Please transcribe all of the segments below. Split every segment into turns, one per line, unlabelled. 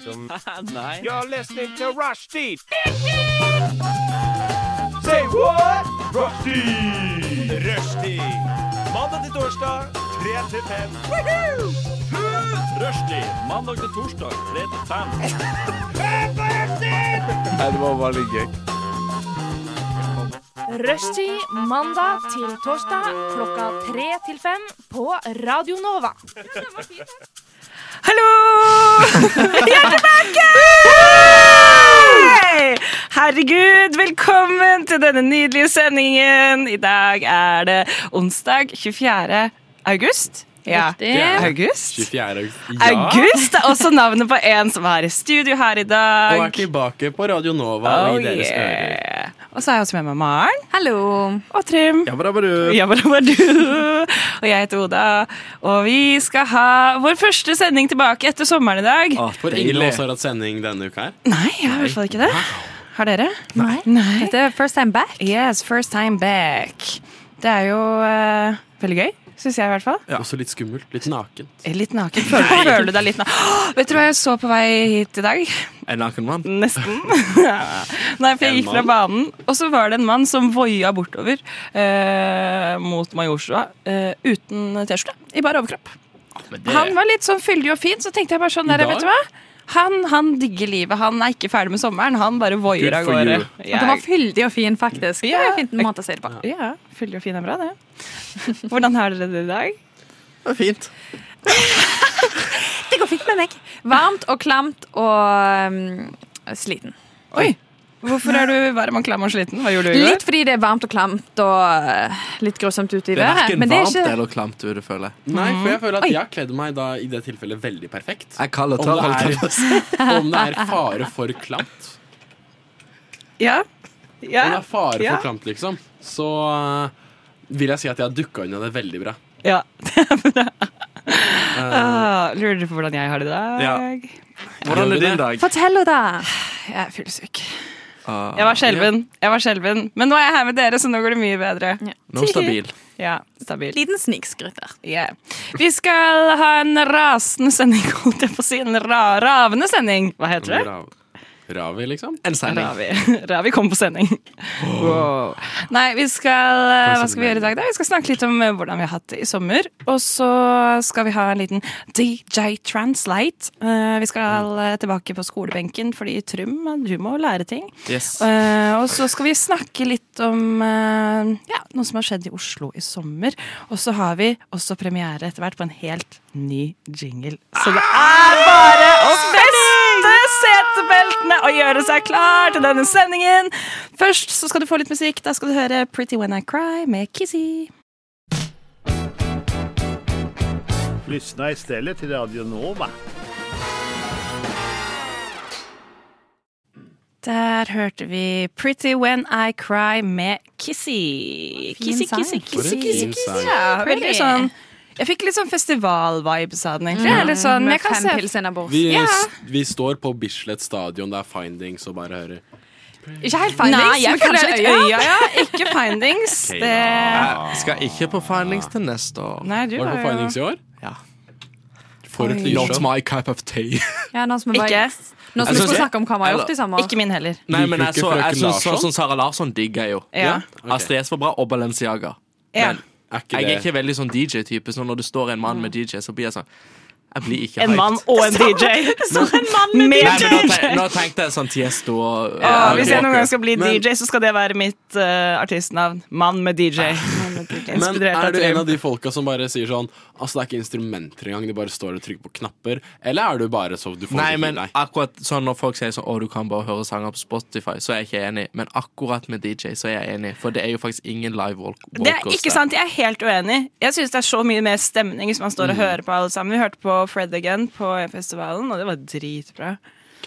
som
Nei.
You're listening to Rushdie. Say what? Rushdie. Rushdie. Mandag til torsdag, 3 til 5. Rushdie. Mandag til torsdag, 3 til 5.
Nei, det var bare litt gøy.
Rushtid mandag til torsdag klokka tre til fem på Radio Nova.
Hallo! Jeg er tilbake! Herregud, velkommen til denne nydelige sendingen. I dag er det onsdag 24. august. Ja,
Riktig.
august.
24. august.
August er også navnet på en som er i studio her i
Og er
dag.
tilbake på Radio Nova
Oh,
i deres ører.
yeah. Og så er jeg også med meg Maren
Hallo.
og Trym.
Ja, bra, bra.
Ja, bare bare du. Og jeg heter Oda. Og vi skal ha vår første sending tilbake etter sommeren i dag.
For ingen av oss har hatt sending denne uka her.
Nei, jeg har i hvert fall ikke det. Har dere?
Nei.
Nei.
Dette er first time back.
Yes, first time back. Det er jo eh, veldig gøy, syns jeg i hvert fall.
Også litt skummelt. Litt nakent.
Litt naken. Føler, føler du deg litt naken? vet du hva jeg så på vei hit i dag?
En naken mann.
Nesten. Nei, for jeg
En
gikk fra banen, og så var det en mann som voia bortover eh, mot Majorstua eh, uten T-skjorte, i bar overkropp. Han var litt sånn fyldig og fin, så tenkte jeg bare sånn
I
der,
dag?
vet du hva? Han, han digger livet. Han er ikke ferdig med sommeren. Han bare voier
Good
av
for
gårde.
you.
Jeg-
Det var fyldig og fin, faktisk. Det er
Ja.
en fin måte å si det på.
Ja, fyldig og fin er bra, det. Hvordan har dere det i dag?
Det var fint.
Det går fint med meg. Varmt og klamt og um, sliten.
Oi! Hvorfor er du varm og klam og sliten? Hva gjorde du i går?
Litt fordi det er varmt og klamt og uh, litt grusomt ute i
Det er
været.
verken
Men det er
varmt
ikke
eller klamt ute, føler jeg.
Nei, for jeg føler at jeg har kledd meg da i det tilfellet veldig perfekt.
Jeg kaller
Om
tørr. holdt jeg
det
på å si.
er, om det er fare for klamt.
Ja.
Om det
Ja.
er fare
Ja.
for klamt, liksom, så øh, vil jeg si at jeg har dukka unna det veldig bra.
ja.
Eh,
Ah, lurer du på hvordan jeg har det i dag?
Hvordan
Gjør
er
vi det?
din dag?
Fortell henne, da.
Jeg er fyllesyk.
Ah,
Jeg var skjelven. Jeg var skjelven. Men nå er jeg her med dere, så nå går det mye bedre.
Nå stabil.
Ja, stabil.
Liten snikskryt der.
Yeah. Vi skal ha en rasende sending, holdt jeg på å si. En ra ravende sending. Hva heter det?
Rav- Ravi, liksom?
En sending.
Ravi. Ravi kom på sending. Wow. Nei, vi skal eh, Hva skal vi gjøre i dag, da? Vi skal snakke litt om eh, hvordan vi har hatt det i sommer. Og så skal vi ha en liten DJ Translate. Eh, Vi skal eh, tilbake på skolebenken, fordi Trym, du må lære ting.
Yes.
Eh, og så skal vi snakke litt om eh, ja, noe som har skjedd i Oslo i sommer. Og så har vi også premiere etter hvert på en helt ny jingle. Så det er bare å feste setebeltene og gjøre seg klar til denne sendingen. Først så skal du få litt musikk. Da skal du høre Pretty When I Cry med Kizzy.
Lyssna istället till Radio Nova.
Der hørte vi Pretty When I Cry med Kissy.
Fin
Kissy,
sang.
kissy,
For
kissy,
en
kissy,
fin
kissy.
sang.
Ja, veldig
Pretty.
sånn Jeg fikk litt sånn festival-vibes av den, egentlig. Eller sånn, men
Med
jeg kan
fem
se
pils innabords.
Vi,
Ja.
vi står på Bislett stadion, det er findings og bare hører
Ikke helt findings,
Nei, jeg
men kanskje
føler det er
øya.
litt øya, ja. Ikke findings.
Ok,
Det...
Jeg skal ikke på findings til neste år.
Nei, du
Var
har
det på
jo-
findings i år?
Ja.
For et
Not
lysshow.
my cup of tea.
Ja, nå som vi bare-
Ikke.
Nå som
Altså, Jeg
vi
synes
skulle
det-
snakke om hva vi har gjort i sommer.
Ikke min heller.
Nei, men
Liker
jeg,
du
så,
ikke
jeg
frøken
synes sånn
Larsson?
som Sara Larsson digger jeg jo.
Ja.
Ok.
Astrid S var bra, og Balenciaga.
Ja.
Er ikke
Jeg er
det
ikke veldig sånn DJ-type, så når det står en
Mm.
mann med DJ, så blir jeg sånn Jeg blir ikke
En
hyped.
mann og en DJ. Så en mann med
Nei, men nå,
DJ!
te nå tenkte jeg sånn Tiesto og
Å, hvis
ok.
jeg noen gang skal bli
Men-
DJ, så skal det være mitt eh, artistnavn. Mann med DJ.
Ah. Men
Inspirert
er
av
du en
Trym.
av de folka som bare sier sånn Altså, det er ikke instrumenter engang, de bare står og trykker på knapper? Eller er du bare så du får
Nei,
det til
men
deg?
akkurat sånn når folk sier sånn Å, du kan bare høre sanger på Spotify, så er jeg ikke enig. Men akkurat med DJ så er jeg enig, for det er jo faktisk ingen live walk walkers
Det er ikke
der.
sant, Jeg er helt uenig. Jeg synes Det er så mye mer stemning hvis man
Mm.
står og hører på alle sammen. Vi hørte på Fred Again på festivalen, og det var dritbra.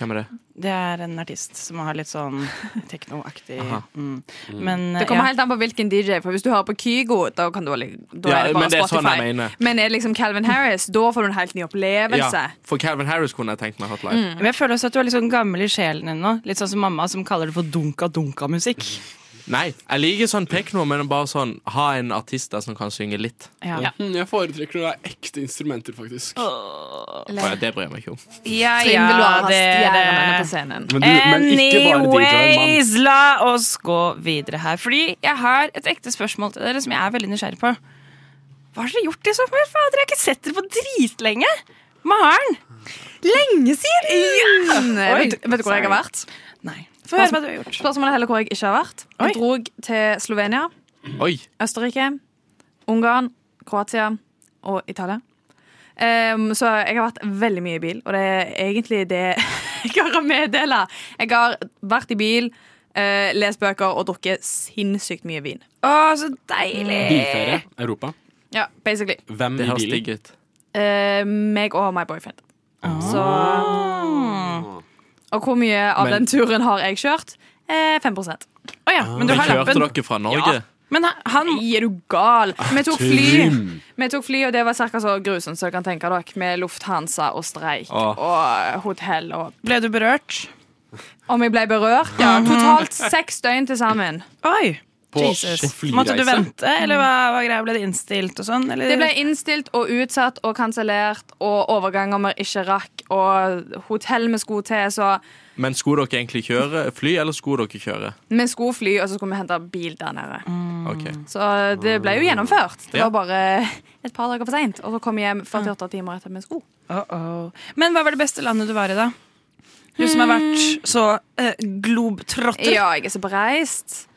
Hvem er det?
Det er en artist som har litt sånn teknoaktig
Aha.
mm. Men eh,
Det
ja.
kommer helt an på hvilken DJ, for hvis du hører på Kygo, da, kan du, alle- da
Ja,
er det bare
men det er sånn
Spotify.
jeg mener.
men er det liksom Calvin Harris, da får du en helt ny opplevelse.
Ja, for Calvin Harris kunne jeg tenkt meg hatt
Mm.
live.
Men jeg føler også at du er litt sånn gammel i sjelen ennå. Litt sånn som mamma som kaller det for dunka-dunka-musikk.
Nei, jeg liker sånn pekno, men bare sånn ha en artist der som kan synge litt.
Ja.
Mm, Jeg foretrekker når det er ekte instrumenter, faktisk.
Og ja, det bryr jeg meg ikke om.
Ja,
Trinn vil du ha
det er
stjernene på
det.
scenen.
Men,
Anyways, la oss gå videre her. Fordi jeg har et ekte spørsmål til dere som jeg er veldig nysgjerrig på. Hva har dere gjort i sommer? Fader, jeg har ikke sett dere på dritlenge. Maren.
Lenge siden!
Oi,
eh, vet, vet du hvor jeg har vært?
Nei. Få høre hva du har gjort.
Spørsmålet er heller hvor jeg ikke har vært.
Oi.
Jeg drog til Slovenia,
Oi,
Østerrike, Ungarn, Kroatia og Italia. Ehm, så jeg har vært veldig mye i bil, og det er egentlig det jeg har å meddele. Jeg har vært i bil, eh, lest bøker og drukket sinnssykt mye vin.
Å, så Altså, deilig.
Bilferie, Europa.
Ja, basically.
Hvem
det
i
høres
bilen?
digg ut.
Eh, meg og my boyfriend. Så Ah. Og hvor mye av
Men-
den turen har jeg kjørt? Eh, 5
Å ja, men du
Ah. Men
har
kjørte
lappen.
dere Ah, fra Norge?
Men ha- han
Nei, er du gal? Vi tok fly, vi tok fly og det var ca. så grusomt som dere kan tenke dere. Med Lufthansa og streik
Åh.
og hotell og
Ble du berørt?
Om jeg ble berørt? Ja. Totalt seks døgn til sammen.
Oi.
På,
Jesus.
på
Måtte du
flyreise?
vente, eller hva, hva greia? Ble det innstilt og sånn? Eller?
Det ble innstilt og utsatt og kansellert, og overganger vi ikke rakk, og hotell vi skulle til, så
Men skulle dere egentlig kjøre fly, eller skulle dere kjøre?
Mm.
Vi skulle fly, og så skulle vi hente bil der nede.
Ok,
Så eh, det ble jo gjennomført. Det
Ja.
var bare et par dager for seint. Og så kom jeg hjem 48 timer etter vi skulle.
Uh-oh. Men hva var det beste landet du var i, da? Du som har vært så eh, globetrotter.
Ja, jeg er så bereist.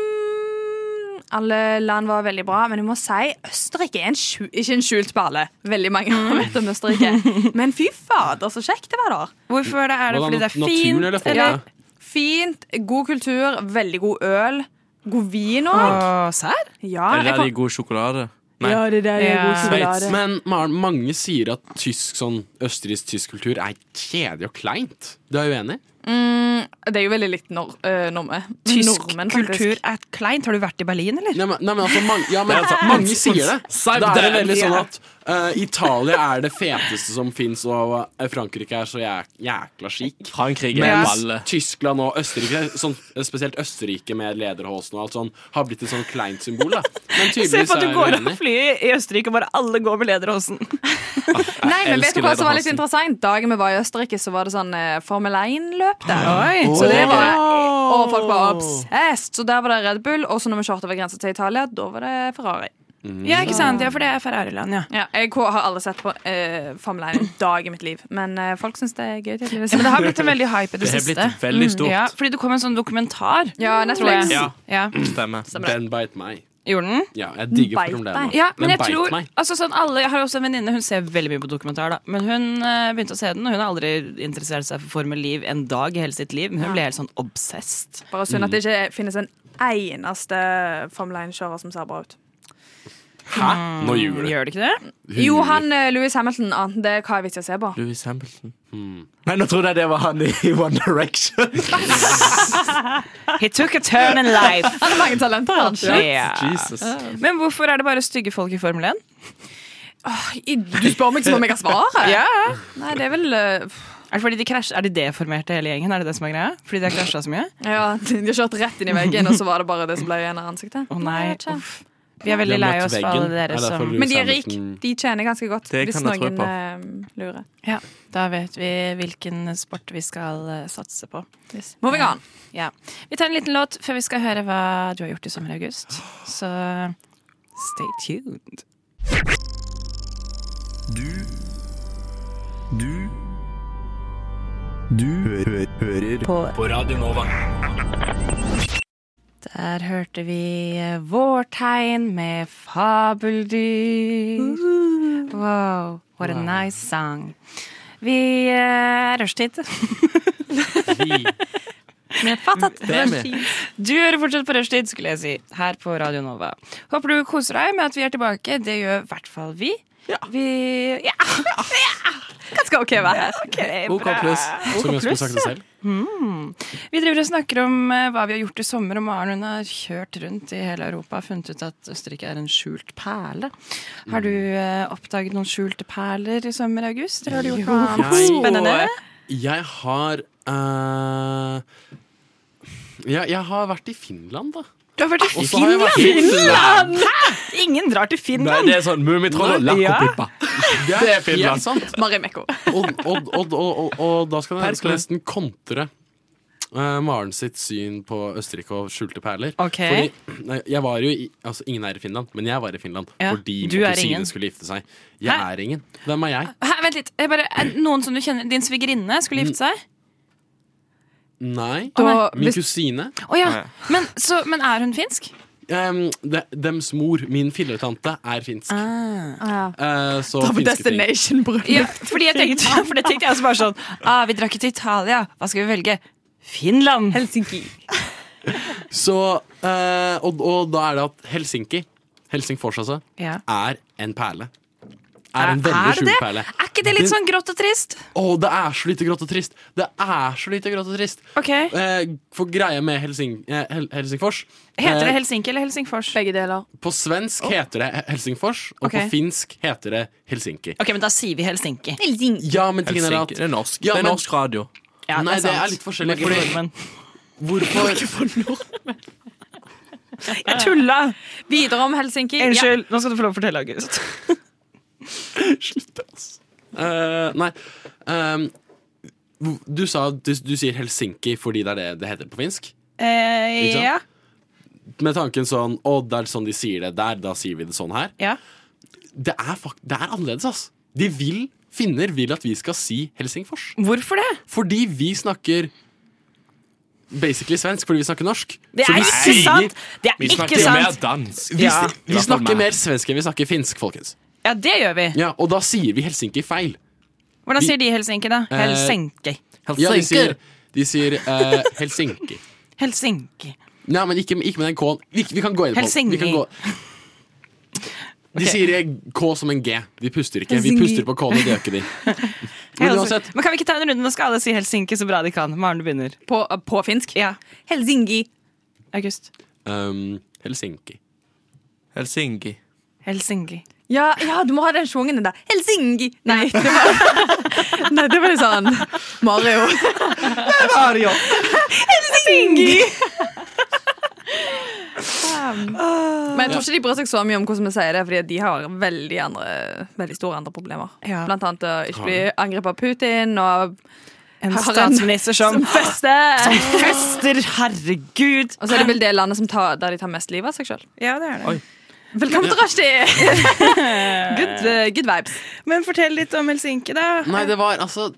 Mm, alle land var veldig bra, men jeg må si Østerrike er en skju, ikke en skjult perle. Veldig mange
Mm.
har vet om Østerrike. Men fy fader, så kjekt det var der.
Hvorfor det? Er det
Hva
fordi
da,
det er
nat- naturen
fint?
eller folket?
eller?
Fint, god kultur, veldig god øl. God vin òg.
Å, sær?
Ja,
Eller
jeg
er
kom-
de god sjokolade? Nei.
Ja, det der er
Ja.
god sjokolade.
Sveits.
Men Maren, mange sier at tysk, sånn østerriksk-tysk kultur er kjedelig og kleint. Du er uenig?
Det er jo veldig likt nor øh, norme.
Tysk
Nordmenn, faktisk.
kultur er kleint. Har du vært i Berlin, eller?
Nei, men, nei, men altså, mange, ja, men,
Det er sant.
mange sier det.
Sagt
Da er det
det.
veldig sånn at eh, Italia er det feteste som fins, og eh, Frankrike er så jæk, jækla chic.
Frankrike er
Mens
balle.
Tyskland og Østerrike, sånn, spesielt Østerrike med lederhosen og alt sånn, har blitt et sånn kleint symbol. Da. Men
Se
tydeligvis
på at
er
du
jeg
går av
uenig.
flyet i Østerrike, og bare alle går med lederhosen.
Nei, men vet
elsker
du hva som var litt
Lederhosen.
interessant? Dagen vi var i Østerrike, så var det sånn eh, Formel 1-løp der.
Oi,
Så det
var
var, og folk var obsessed. Så der var det Red Bull, og så når vi kjørte over grensa til Italia, da var det Ferrari.
Ja, ikke sant? Ja, for det er Ferrari-land, ja.
Ja, jeg har aldri sett på eh, Formel 1 en dag i mitt liv, men eh, folk syns det er gøy. tydeligvis.
ja. Men det har blitt en veldig hype i det,
Det har
siste. Mm,
blitt veldig stort.
Ja, fordi det kom en sånn dokumentar.
Ja, Netflix.
Ja,
Ja.
stemmer.
Den beit meg.
Gjorde den?
Ja, jeg digger
Beit
problemet.
deg.
Ja, men
Den
jeg
beit
tror
meg.
altså sånn alle, Jeg har også en venninne, hun ser veldig mye på dokumentar, da. Men hun eh, begynte å se den, og hun har aldri interessert seg for Formel Liv en dag i hele sitt liv. Men hun ble helt sånn obsessed.
Bare synd at det ikke finnes en eneste Formel 1-kjører som ser bra ut.
Hæ? Nå ljuger du.
Gjør det ikke det?
Hun
Jo,
ljuger.
han eh, Lewis Hamilton ante det. Hva er vits i å se på?
Louis Hamilton. Nei, nå trodde jeg det var han i One Direction.
He took a turn in life.
Han har mange talenter. han.
Ja.
Jesus.
Men hvorfor er det bare stygge folk i Formel 1?
I- Du spør meg som om jeg har svaret?
Ja.
Nei, det er vel eh,
Er det fordi de krasj- Er de deformerte hele gjengen? Er det det som er greia? Fordi de har krasja så mye?
Ja, de har kjørt rett inn i veggen, og så var det bare det som ble igjen av ansiktet.
Å nei,
Jeg vet ikke.
uff. Vi er
Vi
veldig
har
lei
møtt
oss for
veggen.
alle dere
Det er derfor
som
Louis
Men de er rike.
Hamilton-
De tjener ganske godt,
liksom. Det
hvis
kan jeg tro
noen
på.
eh, lurer.
Ja, da vet vi hvilken sport vi skal eh, satse på.
Moving on.
Ja. Vi tar en liten låt før vi skal høre hva du har gjort i sommer og august. Så stay tuned.
Du Du Du hø hø hører på. Radio Nova.
Der hørte vi eh, Vårtegn med fabeldyr. Wow, what a nice song. Vi eh, er rushtid. Du hører fortsatt på rushtid, skulle jeg si, her på Radio Nova. Håper du koser deg med at vi er tilbake. Det gjør i hvert fall vi. Vi Ja!
Ganske OK vær her.
OK pluss.
Som jeg skulle sagt det selv.
Vi driver og snakker om eh, hva vi har gjort i sommer, og Maren hun har kjørt rundt i hele Europa og funnet ut at Østerrike er en skjult perle. Har du eh, oppdaget noen skjulte perler i sommer, August? Eller har du gjort noe annet
Jeg-
spennende?
Jeg har eh, Ja, jeg har vært i Finland, da.
Du har vært i
Og så har jeg vært i Finland!
Ingen drar til Finland!
det er sånn Mummitroll og
Nei, ja.
Lakopippa.
Det er Finland.
sant.
Marimekko.
Og, og, og, og, og, og da skal jeg
Perle.
nesten kontre eh, Maren sitt syn på Østerrike og skjulte perler.
Ok.
Fordi nei, jeg var jo i, altså, Ingen er i Finland, men jeg var i Finland
Ja,
fordi min
du er ingen.
kusine skulle gifte seg. Jeg
Hæ?
er ingen. Hvem er jeg?
Hæ, vent litt. Jeg bare, er det noen som du kjenner Din svigerinne skulle gifte seg?
Nei.
Da-
Min
hvis-
kusine.
Å ja. men, så, men er hun finsk?
Em, de, dems mor, min filletante, er finsk.
Ah,
Eh, så
På
finske ting.
Destination-bryllup.
Ja, fordi jeg tenkte, ja, for det tenkte jeg også bare sånn ah, Vi drar ikke til Italia. Hva skal vi velge? Finland! Helsinki.
Så, eh, og, og da er det at Helsinki, Helsingfors altså,
Ja.
er en perle. Er en
Er-
veldig
er det
skjult
det?
perle.
Er ikke det litt sånn grått og trist?
Å, det er så lite grått og trist! Det er så lite grått og trist.
Ok,
Eh, for greia med Helsing, eh, Hel Helsingfors
Heter det
eh,
Helsinki eller Helsingfors?
Begge deler.
På svensk heter det Helsingfors, og
Ok.
på finsk heter det Helsinki.
Ok, men Da sier vi Helsinki.
Ja, men tingen er at
Helsinki. Det er norsk.
Ja,
det er
men-
norsk radio.
Ja,
Nei, det
sant.
er litt forskjellig.
Norge for
Fordi,
nordmenn.
hvorfor
Jeg tulla!
Videre om Helsinki.
Unnskyld. Nå skal du få lov å fortelle, August.
Slutt, ass. Eh, nei ehm, hvor- Du sa at du, du sier Helsinki fordi det er det det heter på finsk. Ikke
Eh,
sant?
ja.
Med tanken sånn Å, det er sånn de sier det der, da sier vi det sånn her.
ja.
Det er, fak det er annerledes, ass. De vil, finner vil at vi skal si Helsingfors.
Hvorfor det?
Fordi vi snakker basically svensk, fordi vi snakker norsk.
Det
Så
er
vi
ikke
sier-
sant! Det
Vi
er ikke
snakker jo mer
sant!
dansk.
Vi,
Ja.
s- vi snakker mer svensk enn vi snakker finsk, folkens.
Ja, det gjør vi.
Ja, Og da sier vi Helsinki feil.
Hvordan
Vi-
sier de Helsinki, da? Helsinki.
Ja, de sier, de sier eh, Helsinki.
Helsinki.
Nei, men ikke, ikke med den K-en. Vi, vi kan gå inn på den.
Helsinki.
Vi kan gå. De sier eh, K som en G. De puster ikke. Vi puster på K-en, og det gjør ikke de. Men uansett,
altså, Men kan vi ikke ta en runde? Nå skal alle si Helsinki så bra de kan. Maren, du begynner.
På, eh, på finsk.
Ja,
Helsinki.
August.
ehm, Helsinki.
Helsinki.
Helsinki.
Ja, ja, du må ha den sjungen der. Helsinki! Nei, det var, Nei, det var litt sånn Mario.
Ario.
Helsinki! Men jeg tror ikke de bryr seg så mye om hvordan vi sier det, fordi de har veldig, andre, veldig store andre problemer.
Ja.
Blant annet å ikke bli angrepet av Putin og
En
Har en-
statsminister som
feste.
fester, herregud!
Og så er det vel det landet som tar, der de tar mest livet av seg sjøl.
Ja, det er det.
Oi.
Velkommen til Rushdie! good, eh, good vibes.
Men fortell litt om Helsinki, da.
Nei, det var altså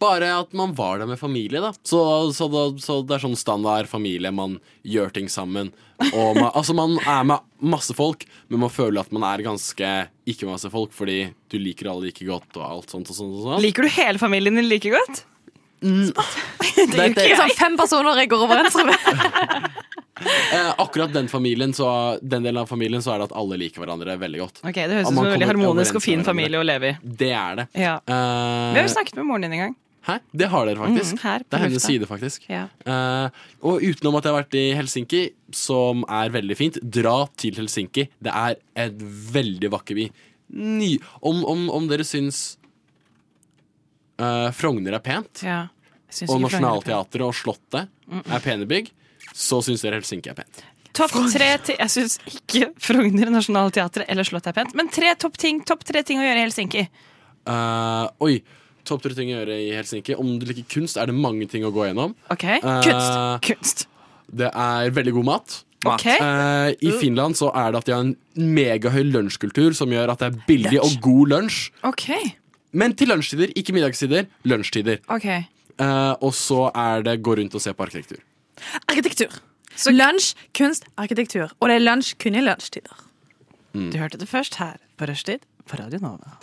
bare at man var der med familie, da. Så, så, da, så det er sånn standard familie. Man gjør ting sammen. Og man, altså, man er med masse folk, men man føler at man er ganske ikke masse folk, fordi du liker alle like godt og alt sånt og sånt. Og sånt.
Liker du hele familien din like godt?
Det er ikke-
Det er sånn fem personer jeg går overens med.
eh, akkurat den familien, så, den delen av familien, så er det at alle liker hverandre veldig godt.
Ok, Det høres ut
Og
som
man
en veldig
kommer
harmonisk og
overens
fin
med hverandre.
familie å leve i.
Det er det.
Ja.
Eh,
Vi har jo snakket med moren din en gang.
Hæ? Det har dere faktisk.
Mm, her på
det er hennes
lufta.
side, faktisk.
Ja.
Eh, og utenom at jeg har vært i Helsinki, som er veldig fint, dra til Helsinki. Det er et veldig vakker by. Ny. Om, om, om dere syns eh, Frogner er pent,
Ja. Jeg synes
og
ikke Frogner er pen.
Nationaltheatret og Slottet er pene bygg, så syns dere Helsinki er pent.
Topp tre ti- Jeg syns ikke Frogner Nationaltheatret eller Slottet er pent, men tre topp ting, topp tre ting å gjøre i Helsinki.
Eh, oi, topp tre ting å gjøre i Helsinki. Om du liker kunst, er det mange ting å gå gjennom.
Ok?
Eh,
Kunst. Kunst.
Det er veldig god mat.
Ok?
Eh, I Finland så er det at de har en megahøy lunsjkultur som gjør at det er billig og god lunsj.
Ok.
Men til lunsjtider, ikke middagstider. Lunsjtider.
Ok.
Mm.
Eh, og så er det gå rundt og se på arkitektur.
Arkitektur. Så lunsj, kunst, arkitektur. Og det er lunsj kun i lunsjtider.
Du hørte det først her på Rushtid på Radio Nova.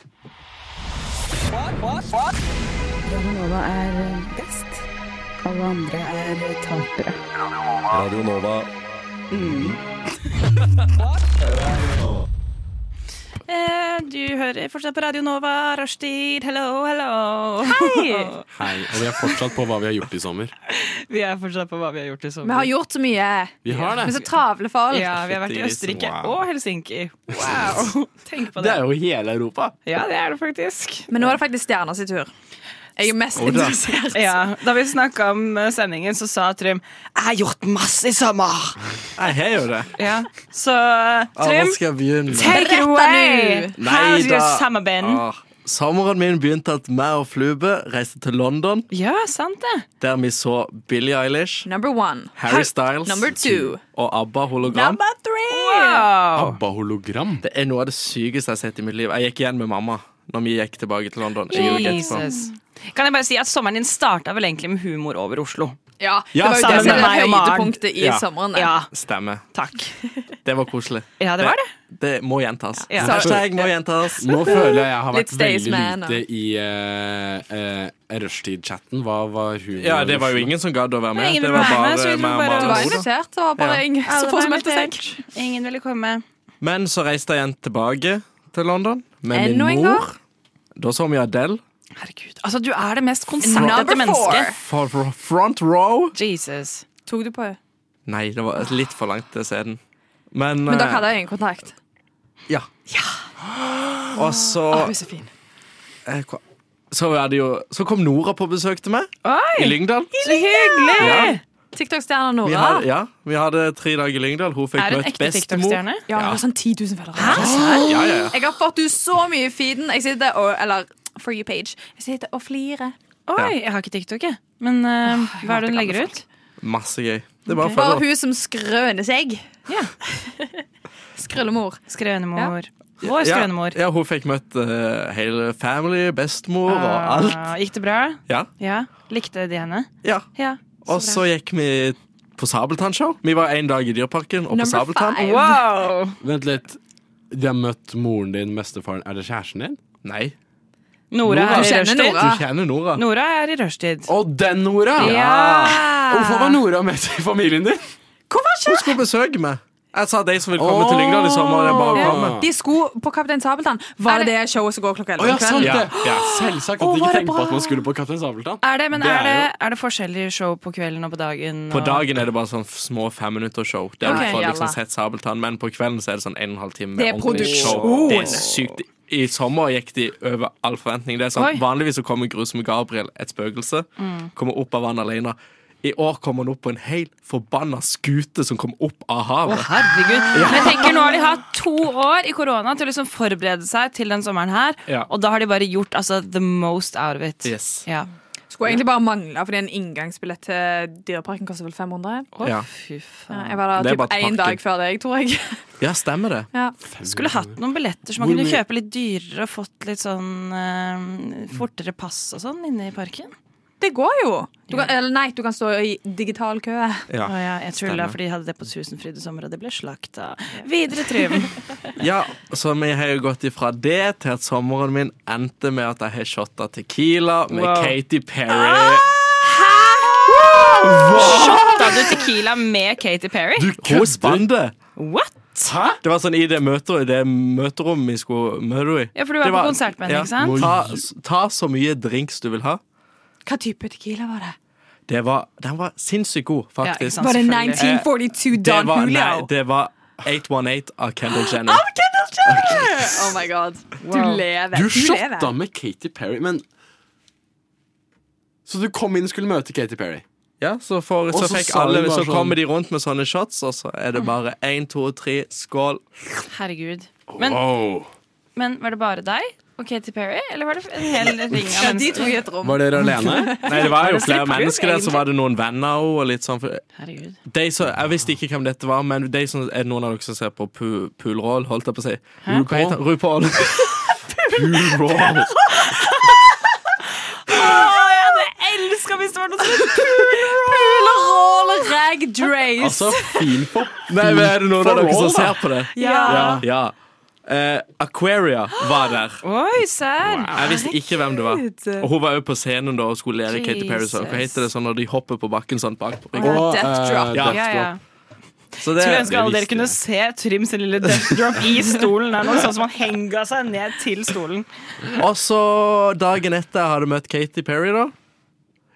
Radio Nova.
Mm. Eh, du hører fortsatt på Radio Nova, Rushtid, hello, hello. Hei!
Hei, Og vi er fortsatt på hva vi har gjort i sommer.
vi er fortsatt på hva vi har gjort i sommer.
Vi har gjort så mye.
Vi har
Vi er så
det.
travle folk.
Ja, vi har vært i
Fytti grisen,
Østerrike
wow.
og Helsinki. Wow! Tenk på
Det
det.
er jo hele Europa.
Ja, det er det faktisk.
Men nå er det faktisk stjerner sin tur. Jeg er mest
da.
interessert.
Ja, Da vi snakka om eh, sendingen, så sa Trym 'Jeg har gjort masse i sommer'.
Jeg har jo det.
Ja, Så eh, Trym,
skal jeg begynne?
take it
Berett
away!
deg
How's your summer been?
Ah, sommeren min begynte at meg og Flube reiste til London,
Ja, sant det.
der vi så Billie Eilish,
Number one.
Harry Styles
Number two.
og ABBA hologram.
Wow.
Abba hologram.
Det er noe av det sykeste jeg har sett i mitt liv. Jeg gikk igjen med mamma når vi gikk tilbake til London. Jeg gjorde ikke etterpå.
Jesus. Kan jeg bare si at Sommeren din starta vel egentlig med humor over Oslo.
Ja,
Ja,
det var jo
sammen
det som
med
meg
var
og Maren.
høydepunktet i
Ja.
sommeren. da.
Ja,
Stemmer.
takk.
Det var koselig.
Ja, det var det.
Det må gjentas.
Ja.
Hashtag må gjentas.
Nå føler jeg jeg har vært
Litt Staysman,
veldig
og-
lite i uh, rushtid-chatten. Hva var hun?
Ja, det var jo ingen som gadd å
Det
være
var
med.
ingen
Det
som
var
var med,
bare
så vi
meg og
dro bare og
Du var
mamma.
invitert, det var bare
Ja.
ingen som få smelte seg.
Ingen ville komme.
Men så reiste jeg igjen tilbake til London med
Enda en
min
gang?
mor. Da så vi Adele.
Herregud, altså Du er det mest
Number
konsertete mennesket.
For for- front row.
Jesus.
Tok du på henne?
Nei, det var litt for langt til scenen. Men,
Men dere
eh,
hadde øyekontakt.
Ja. Og så eh, hva- så, var det jo, så kom Nora på besøk til meg i
Oi,
Lyngdal.
så hyggelig!
Ja.
TikTok-stjerna
Vi,
Nora.
hadde, ja, vi hadde tre dager i Lyngdal. Hun fikk
Er hun
møtt
ekte
bestemor.
TikTok-stjerne?
Ja, hun har sånn 10 000 følgere.
Ja, ja, ja.
Jeg har fått henne så mye i feeden. Jeg sitter og Eller for you page. Jeg sitter og flirer.
Oi, jeg har ikke TikTok, jeg. Men eh, hva er det hun legger ut?
Masse gøy. Det er bare å følge
Bare
opp.
hun som skrøner seg.
Ja.
Skrøllemor.
Skrønemor. Vår skrønemor.
Ja, ja, hun fikk møtt eh, hele family, bestemor og alt.
Ah, gikk det bra?
Ja,
Ja. Likte de henne?
ja.
Ja.
Og så gikk vi på Sabeltannshow. Vi var en dag i Dyreparken og på
Number
Sabeltann.
five.
Wow!
Vent litt. De har møtt moren din, bestefaren Er det kjæresten din?
Nei,
Nora
Du
er i
kjenner
rushtid.
Nora.
du kjenner Nora.
Ah. Nora er i rushtid.
Å, den Nora! Hvorfor var Nora med til familien din?
Hun skulle besøke meg. Jeg sa de som ville komme til Lyngdal i sommer. Det er bare å komme.
Ja.
De skulle på Kaptein Sabeltann. Var det det showet som går klokka
Å ja,
11 om
sant
kvelden?
det!
Ja, ja.
Selvsagt at de ikke tenkte på at man skulle på Kaptein Sabeltann.
Er det, men
Det
er,
er
det, er det forskjellige show på kvelden og på dagen?
På
og-
dagen er det bare sånn små femminuttersshow. Der
Ok,
du får
jalla.
liksom sett Sabeltann, men på kvelden så er det sånn en og en halv time. med
Det er
ordentlig show.
produksjon.
Det er sykt. I sommer gikk de over all forventning. Det er sånn,
Oi.
Vanligvis så kommer grusomme Gabriel, et spøkelse,
Mm.
kommer opp av vannet alene. I år kommer han opp på en helt forbanna skute som kom opp av havet.
Herregud. Men jeg tenker Nå har de hatt to år i korona til å liksom forberede seg til den sommeren her.
Ja.
Og da har de bare gjort altså, the most out of it.
Yes.
Ja.
Skulle egentlig bare mangle, fordi en inngangsbillett til Dyreparken koster vel 500.
Å,
Ja.
fy faen.
Ja, Jeg var
Det
der
er
typ
bare
én
parken.
dag før deg, tror jeg.
Ja, stemmer det.
Ja.
Skulle hatt noen billetter som man
Hvor
kunne
mye-
kjøpe litt dyrere og fått litt sånn eh, fortere pass og sånn inne i parken.
Det går jo. Du kan, eller nei, du kan stå i digital kø.
Ja.
Å ja, jeg tulla,
Stemmer.
for de hadde det på Tusenfryd i sommer, og det ble slakta. Videre, Trym.
Ja, så vi har jo gått ifra det til at sommeren min endte med at jeg har shotta Tequila med
Wow.
Katy
Ah!
Perry.
Ah!
Shotta du Tequila med Katy Perry?
Hun spant det.
What?
Det var sånn i det, møter, det møterommet vi skulle møte henne i.
Ja, for du var
Det
på konsert med henne, ikke sant?
Ta, ta så mye drinks du vil ha.
Hva type tequila var det?
Det var, den var sinnssykt god,
Ja, ikke
faktisk.
sant,
Var det
selvfølgelig.
1942
det
Don
var, nei,
Julio?
det var 818 av Kendall
Ah,
Jenner.
Oh my god. Du
Wow.
lever.
Du
lever.
shotta med Katy Perry, men Så du kom inn og skulle møte Katy Perry?
Ja, så, for,
Og
så,
så
fikk
sa hun
alle,
bare
så
sånn-
kommer de rundt med sånne shots, og så
Ah.
er det bare én, to, tre, skål.
Herregud. Men, men var det bare deg og Katy Perry, eller var det en hel ring av
Ja, de
mennesker?
to i et rom.
Var dere alene?
Nei, det var jo
det
flere
stripper,
mennesker der, så
egentlig?
var det noen venner også, og litt sånn. for-
Herregud.
De som, jeg visste ikke hvem dette var, men de som, er det noen av dere som ser på pu, Poolroll? Holdt jeg på å si. Hva heter han? RuPaul.
Jeg hadde elska hvis det var noe sånt!
Roll rag drace.
Altså, fin for
Nei, men er det noen av dere
RuPaul,
som
da?
ser på det?
Ja.
Ja. Eh, Aquaria var der.
Oi, serr.
Jeg visste ikke hvem det var. Og hun var jo på scenen da og skulle lære Katy Perry sånn. Hva
Jesus.
heter det sånn når de hopper på bakken sånn bak på ryggen?
Og,
Death drop.
eh,
Ja.
Ja, ja.
Så det,
Skulle ønske alle
visste
dere kunne se Trym sin lille death drop i stolen. Der, nå, sånn som han henga seg ned til stolen.
Og så dagen etter jeg hadde møtt Katy Perry, da.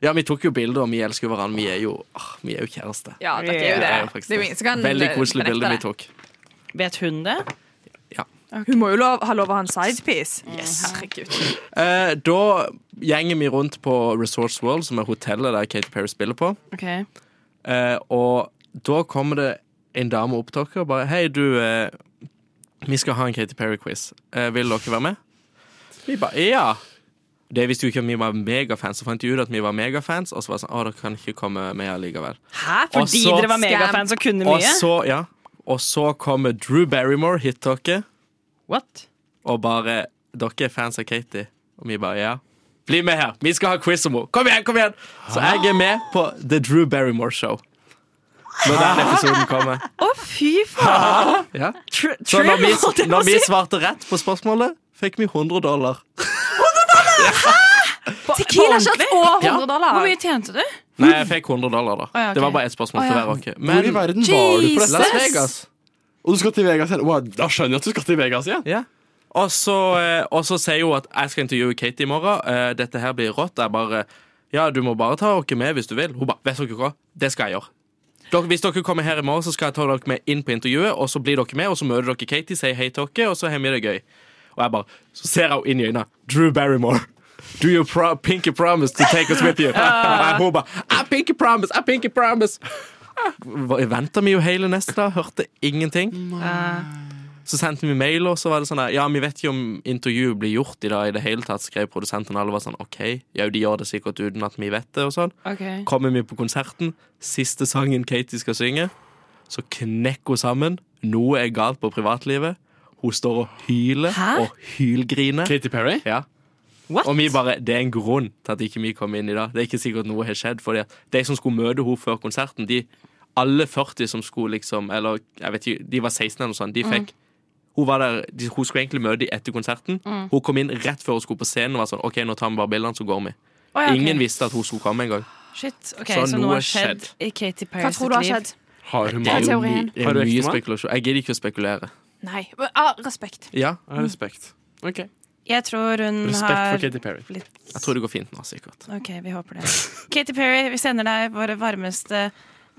Ja, vi tok jo bilder, og vi elsker jo hverandre. Vi er jo, ah, vi er jo kjærester.
Ja, dette er jo
Ja,
det.
Jeg er jo faktisk
eh, det er jo ingen som kan
Veldig koselig
benekte
bilde
det.
vi tok.
Vet hun det?
Ja.
Hun må jo lov, ha lov å ha en sidepiece. Mm. Yes. Herregud.
Eh, da gjenger vi rundt på Resource World, som er hotellet der Katy Perry spiller på.
Ok.
Eh, og da kommer det en dame opp til dere og bare Hei, du, eh, vi skal ha en Katy Perry-quiz. Eh, vil dere være med? Vi bare Ja! Det visste jo ikke at vi var megafans, så fant de ut at vi var megafans, og så var det sånn Å, dere kan ikke komme med allikevel.
Hæ? Fordi
Og så-
dere var megafans og kunne
Og
mye?
så, ja. Og så kommer Drew Barrymore hit til dere
What?
og bare Dere er fans av Katy. Og vi bare ja. Bli med her! Vi skal ha quiz om henne! Kom igjen! kom igjen Så jeg er med på The Drew Barrymore Show. Når den episoden kommer.
Å, fy faen!
Ja.
Tr
Så når vi,
holdt jeg på å
når vi
si.
svarte rett på spørsmålet, fikk vi 100 dollar.
Tequila shots og 100
Ah.
dollar.
Hvor mye tjente du?
Nei, jeg fikk 100 dollar, da.
ja, ok.
Det var bare ett spørsmål
Å,
til
ja.
hver av dere.
Hvor i
Men
verden var du for
Las
dette?
Vegas
Og du skal til Vegas igjen? Wow, da skjønner jeg at du skal til Vegas igjen.
Ja. Og så, eh, og så sier hun at jeg skal intervjue Katie i morgen. Eh, Dette her blir rått. Jeg bare Ja, du må bare ta dere med hvis du vil. Hun bare Vet dere hva? Det skal jeg gjøre. Dere, hvis dere kommer her i morgen, så skal jeg ta dere med inn på intervjuet. Og så blir dere med, og så møter dere Katie, sier hei til dere, og så har vi det gøy. Og jeg bare Så ser jeg henne inn i øynene. Drew Barrymore. Do you pro pinky promise to take us with you? Og hun bare I pinky promise, I pinky promise. Venta vi jo hele neste dag, hørte ingenting. Så sendte vi mail, og så var det sånn der, Ja, vi vet ikke om intervjuet blir gjort i dag i det hele tatt, skrev produsenten. Alle var sånn OK, ja, de gjør det sikkert uten at vi vet det, og sånn.
Ok.
Kommer vi på konserten, siste sangen Katie skal synge, så knekker hun sammen. Noe er galt på privatlivet. Hun står og hyler
Hæ?
og hylgriner.
Katy Perry?
Ja.
What?
Og vi bare, Det er en grunn til at ikke vi kom inn i dag. Det er ikke sikkert noe har skjedd. Fordi at de som skulle møte henne før konserten, de, alle 40 som skulle liksom Eller jeg vet ikke, de var 16 eller noe sånt.
Mm.
De fikk Hun var der, de, hun skulle egentlig møte dem etter konserten.
Mm.
Hun kom inn rett før hun skulle på scenen og var sånn OK, nå tar vi bare bildene, så går vi.
Å, ja, ok.
Ingen visste at hun skulle komme engang.
Shit. ok,
Så
så,
noe
noe har skjedd
skjedd.
i Katy Perry
Hva
sitt
tror du har
liv.
skjedd?
Har hun
Det er
jo
mannen?
teorien.
Det
Har
er
du
mye
ekstra med?
spekulasjon. Jeg gidder ikke å spekulere.
Nei. Men, ah, respekt.
Ja,
Respekt. Ok.
Jeg tror hun
Respekt
har
for Katy Perry.
blitt
jeg tror det går fint nå, sikkert.
Ok, vi håper det. Katy Perry, vi sender deg våre varmeste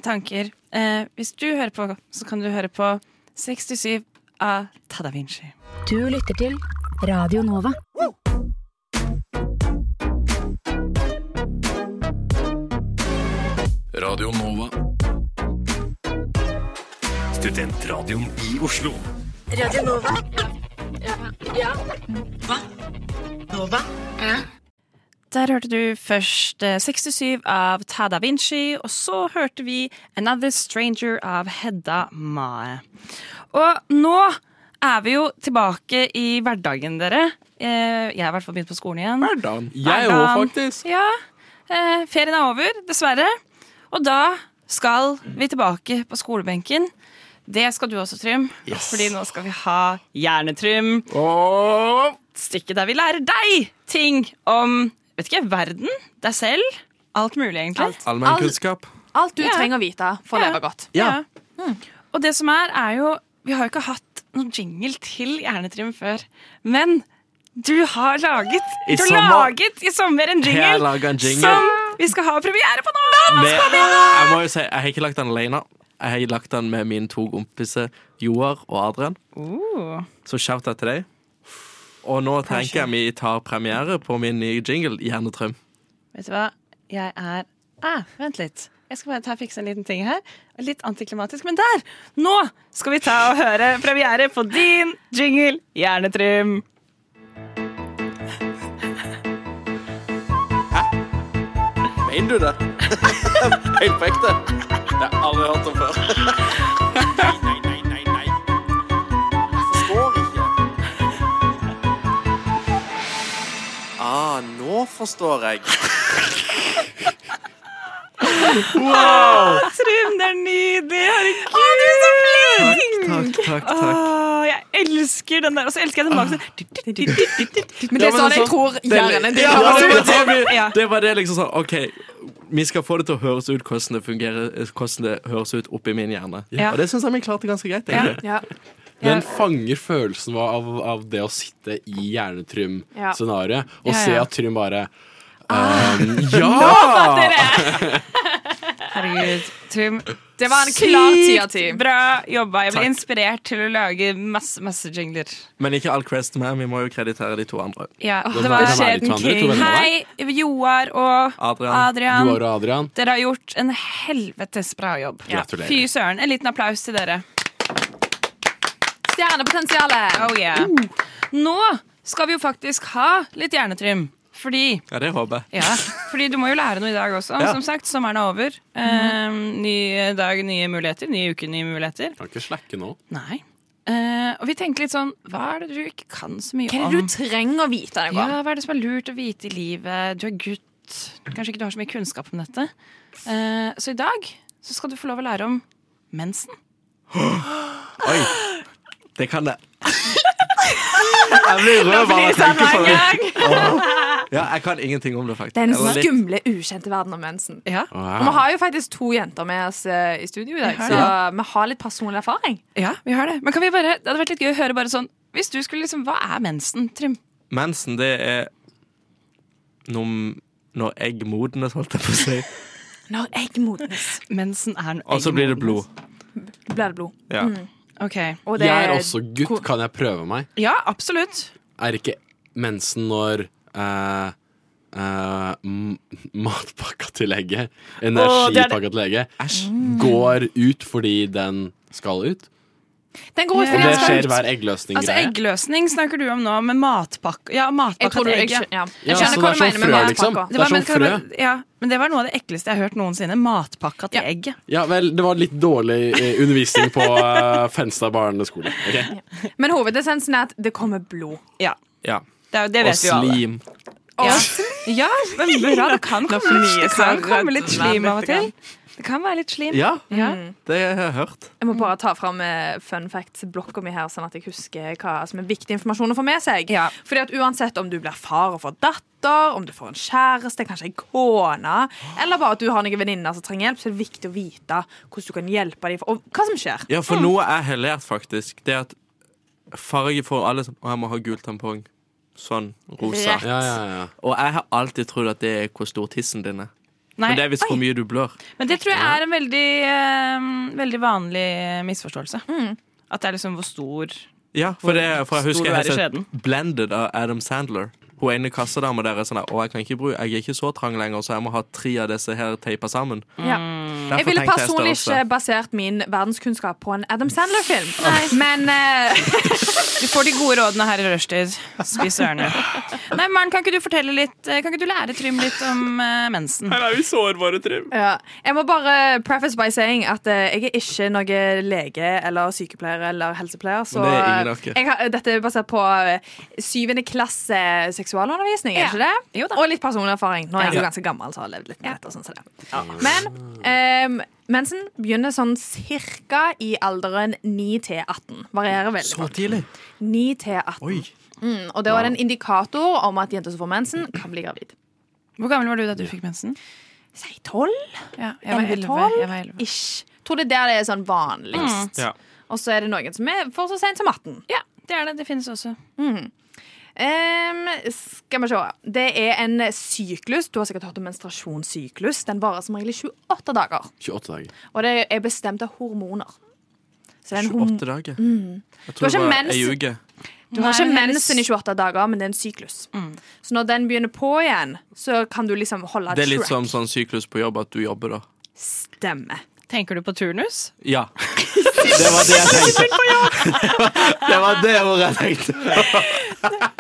tanker. Eh, hvis du hører på, så kan du høre på 67 av Tada Vinci.
Du lytter til Radio Nova.
Radio Nova. Studentradioen i Oslo.
Der hørte du først eh, 67 av Tada Vinci, og så hørte vi Another Stranger av Hedda Mae. Og nå er vi jo tilbake i hverdagen, dere. Eh, jeg har i hvert fall begynt på skolen igjen.
Pardon.
Jeg òg,
Erdan.
faktisk.
Ja, eh, ferien er over, dessverre. Og da skal vi tilbake på skolebenken. Det skal du også, Trym. Fordi nå skal vi ha Hjernetrym. Stikket der vi lærer deg ting om vet ikke, verden, deg selv, alt mulig, egentlig.
Allmennkunnskap.
Alt du
Ja.
trenger å vite for å
Ja. Mm.
leve godt.
Ja.
Og det som er, er jo Vi har jo ikke hatt noen jingle til Hjernetrym før. Men du har laget
I
Du har
sommer-
laget i sommer en
Jeg har
jingle,
laget en jingle.
som vi skal ha premiere på nå!
med, jeg må jo si, jeg har ikke lagt den alene. Jeg har lagt den med mine to kompiser Joar og Adrian.
Oh.
Så shout out til deg. Og nå tenker jeg vi tar premiere på min nye jingle, Hjernetrøm.
Vet du hva? Jeg er ah, Vent litt. Jeg skal bare ta og fikse en liten ting her. Litt antiklimatisk, men der! Nå skal vi ta og høre premiere på din jingle Hjernetrym.
Mener du det? Helt på ekte? Det har jeg aldri hørt om før. Nei, nei, nei, nei. Jeg forstår ikke. Ah, nå forstår jeg.
Trym, det er nydelig! Herregud! Å, du er så flink!
Takk, takk,
Å,
takk.
jeg elsker den der. Og så elsker jeg den bak sånn.
Men det er
Ja, men
sånn jeg
sånn-
tror
Det er
hjernen
litt-
din
Ja,
har
det,
det.
var det, vi-
Ja.
det var det liksom sånn OK, vi skal få det til å høres ut hvordan det fungerer eh, Hvordan det høres ut oppi min hjerne.
Ja.
Og det syns jeg vi klarte ganske greit. egentlig.
Ja.
Den fanger følelsen av, av det å sitte i
Ja.
hjernetrym-scenarioet og
Ja, ja.
se at Trym bare ehm, Ja!
Herregud. herregud. Trym,
Det var en klar
sykt
10 av 10.
Bra jobba. Jeg ble
Takk.
inspirert til å lage masse, masse jingler.
Men ikke all creds til meg. Vi må jo kreditere de to andre.
Ja, det
var-
var
det var de to
Skjeden
andre, to
King.
venner av
Hei, Joar og
Adrian.
Adrian.
Joar og Adrian.
Dere har gjort en helvetes bra jobb.
Gratulerer.
Fy søren. En liten applaus til dere.
Stjernepotensialet.
Oh yeah. Nå skal vi jo faktisk ha litt hjernetrym. Fordi
Ja, det håper jeg.
ja, fordi du må jo lære noe i dag også.
Ja.
Som sagt, sommeren er over. Eh, ny dag, nye muligheter. Ny uke, nye muligheter.
Kan ikke slacke nå.
Nei. Eh, og vi tenker litt sånn Hva er det du ikke kan så mye
Hva er
om?
det
Um,
du trenger å vite? Nicola?
Ja, hva er det som er lurt å vite i livet? Du er gutt. Kanskje ikke du har så mye kunnskap om dette. Eh, så i dag så skal du få lov å lære om mensen.
Oi. Det kan det. Jeg blir rød bare jeg
sånn
tenker på det. Ja, jeg kan ingenting om det, faktisk.
Den
Eller litt.
skumle, ukjente verden om mensen.
Ja.
Og vi
Ah.
har jo faktisk to jenter med oss eh, i studio i dag,
Ja.
så vi har litt personlig erfaring.
ja, vi har det. Men kan vi bare, det hadde vært litt gøy å høre bare sånn Hvis du skulle liksom Hva er mensen, Trym?
Mensen, det er num når egg modnes, holdt jeg på å si.
Når jeg modnes,
Mensen er en
Og så blir det blod.
blir det blod.
Ja.
Ok.
Og det
Jeg er også gutt, kan jeg prøve meg?
Ja, absolutt.
Er ikke mensen når eh, eh, m- matpakka til legge, energipakka til legge, går ut fordi den skal ut?
Den går
Ja.
ut
Og
fordi
det
den skal
skjer
ut.
hver
Altså
eggløsning-greie.
Eggløsning snakker du om nå, med matpakke Ja,
Jeg
matpakka
tror du
til
jeg,
egget.
skjø- ja.
Ja,
jeg skjønner
så
hva
det
du
er sånn
mener med
frø,
matpakka.
liksom.
Det var,
Det er
men,
som
kan du
frø.
bare- ja, men det var noe av det ekleste jeg har hørt noensinne. Matpakka til
Ja.
egget.
Ja vel, det var litt dårlig eh, undervisning på eh, Fenstad barneskole. ok?
Men hovedessensen er at det kommer blod.
Ja,
ja.
det, er- det
Og
vet vi jo alle.
slim.
Ja, ja men bra. Det kan komme,
fnyser
det kan
jeg.
komme litt slim
Nei,
av og til. Det kan være litt slim.
Ja,
Ja.
det har jeg hørt.
Jeg må bare ta fram eh, fun facts-blokka mi her, sånn at jeg husker hva som er viktig informasjon å få med seg.
Ja.
Fordi at uansett om du blir far og får datter, om du får en kjæreste, kanskje en kone, eller bare at du har noen venninner som trenger hjelp, så er det viktig å vite hvordan du kan hjelpe dem, og hva som skjer.
Ja,
Mm.
for noe jeg har lært, faktisk, det er at farge får alle som Å, jeg må ha gul tampong. Sånn. Rosa.
Rett.
Ja, ja, ja.
Og jeg har alltid trodd at det er hvor stor tissen din er.
Nei,
Men det er visst hvor mye du blør.
men det tror jeg er en veldig, eh, veldig vanlig misforståelse. At det er liksom hvor stor
Ja, for, det, for jeg
Stor
husker
du er
jeg
i
har sett Blended av Adam Sandler. Hun ene kassadama der er sånn der, Å, jeg kan ikke bruke Jeg er ikke så trang lenger, så jeg må ha tre av disse her teipa sammen.
Mm. Ja.
Derfor
Jeg ville
tenkte
personlig ikke
størrelse.
basert min verdenskunnskap på en Adam Sandler-film, men eh,
Du får de gode rådene her i rushtid. Spis ørene. Nei, Maren, kan ikke du fortelle litt eh, Kan ikke du lære Trym litt om eh, mensen?
Ja. Jeg må bare preface by saying at eh, jeg er ikke noe lege eller sykepleier eller helsepleier. Så
Men det er ingen av dere.
eh, jeg har, dette er basert på eh, syvende klasse seksualundervisning, er ikke det?
Jo da.
Og litt personlig erfaring. Nå er jeg
Ja.
jo ganske gammel, så har jeg levd litt med dette. og Sånn, som det. Men eh, mensen begynner sånn cirka i alderen 9 til 18. Varierer veldig.
Så tidlig?
9 til 18.
Oi.
Mm, og det var en indikator om at jenter som får mensen, kan bli gravid.
Hvor gammel var du da du fikk mensen?
Si 12?
Ja, jeg var 11.
11-12?
Jeg var 11.
Ish. Tror det er der det er sånn vanligst.
Ja.
Og så er det noen som er for så sent som 18.
Ja, det er det. Det finnes også.
Ehm, skal vi se. Det er en syklus. Du har sikkert hørt om menstruasjonssyklus. Den varer som regel i 28 dager.
28 dager.
Og det er bestemt av hormoner. Så det er en horm
28 dager. Jeg tror
Mm. Du
det
har ikke
var
mens-
ei uke.
du har ikke
Nei, men
mensen i 28 dager, men det er en syklus.
Mm.
Så når den begynner på igjen, så kan du liksom holde
Det er litt
track.
som sånn syklus på jobb, at du jobber da.
Stemme.
Tenker du på turnus?
Ja. Det var det jeg tenkte. Det var det ordet jeg tenkte.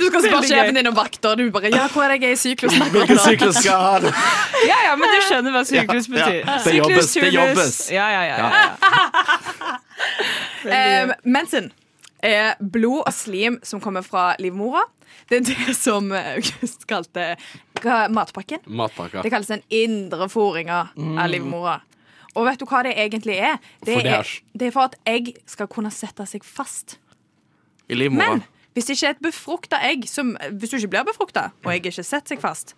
Du skal spørre
Veldig
sjefen
gøy.
din om vakter, og du bare Ja, hvor er det jeg er i syklusen akkurat
Hvilken
nå?
syklus skal jeg ha? nå?
Ja, ja, men du skjønner hva syklus
Ja, ja.
betyr.
Det jobbes, det
turnus.
jobbes.
Ja, ja, ja, ja. ja.
Eh, mensen er blod og slim som kommer fra livmora. Det er det som eh, August kalte hva- matpakken.
Matpakka.
Det kalles den indre foringa av livmora. Og vet du hva det egentlig er?
For
Det
det er
er,
s-
det er for at egg skal kunne sette seg fast.
I livmora.
Men hvis det ikke er et befrukta egg, som, hvis du ikke blir befrukta, og egget ikke setter seg fast,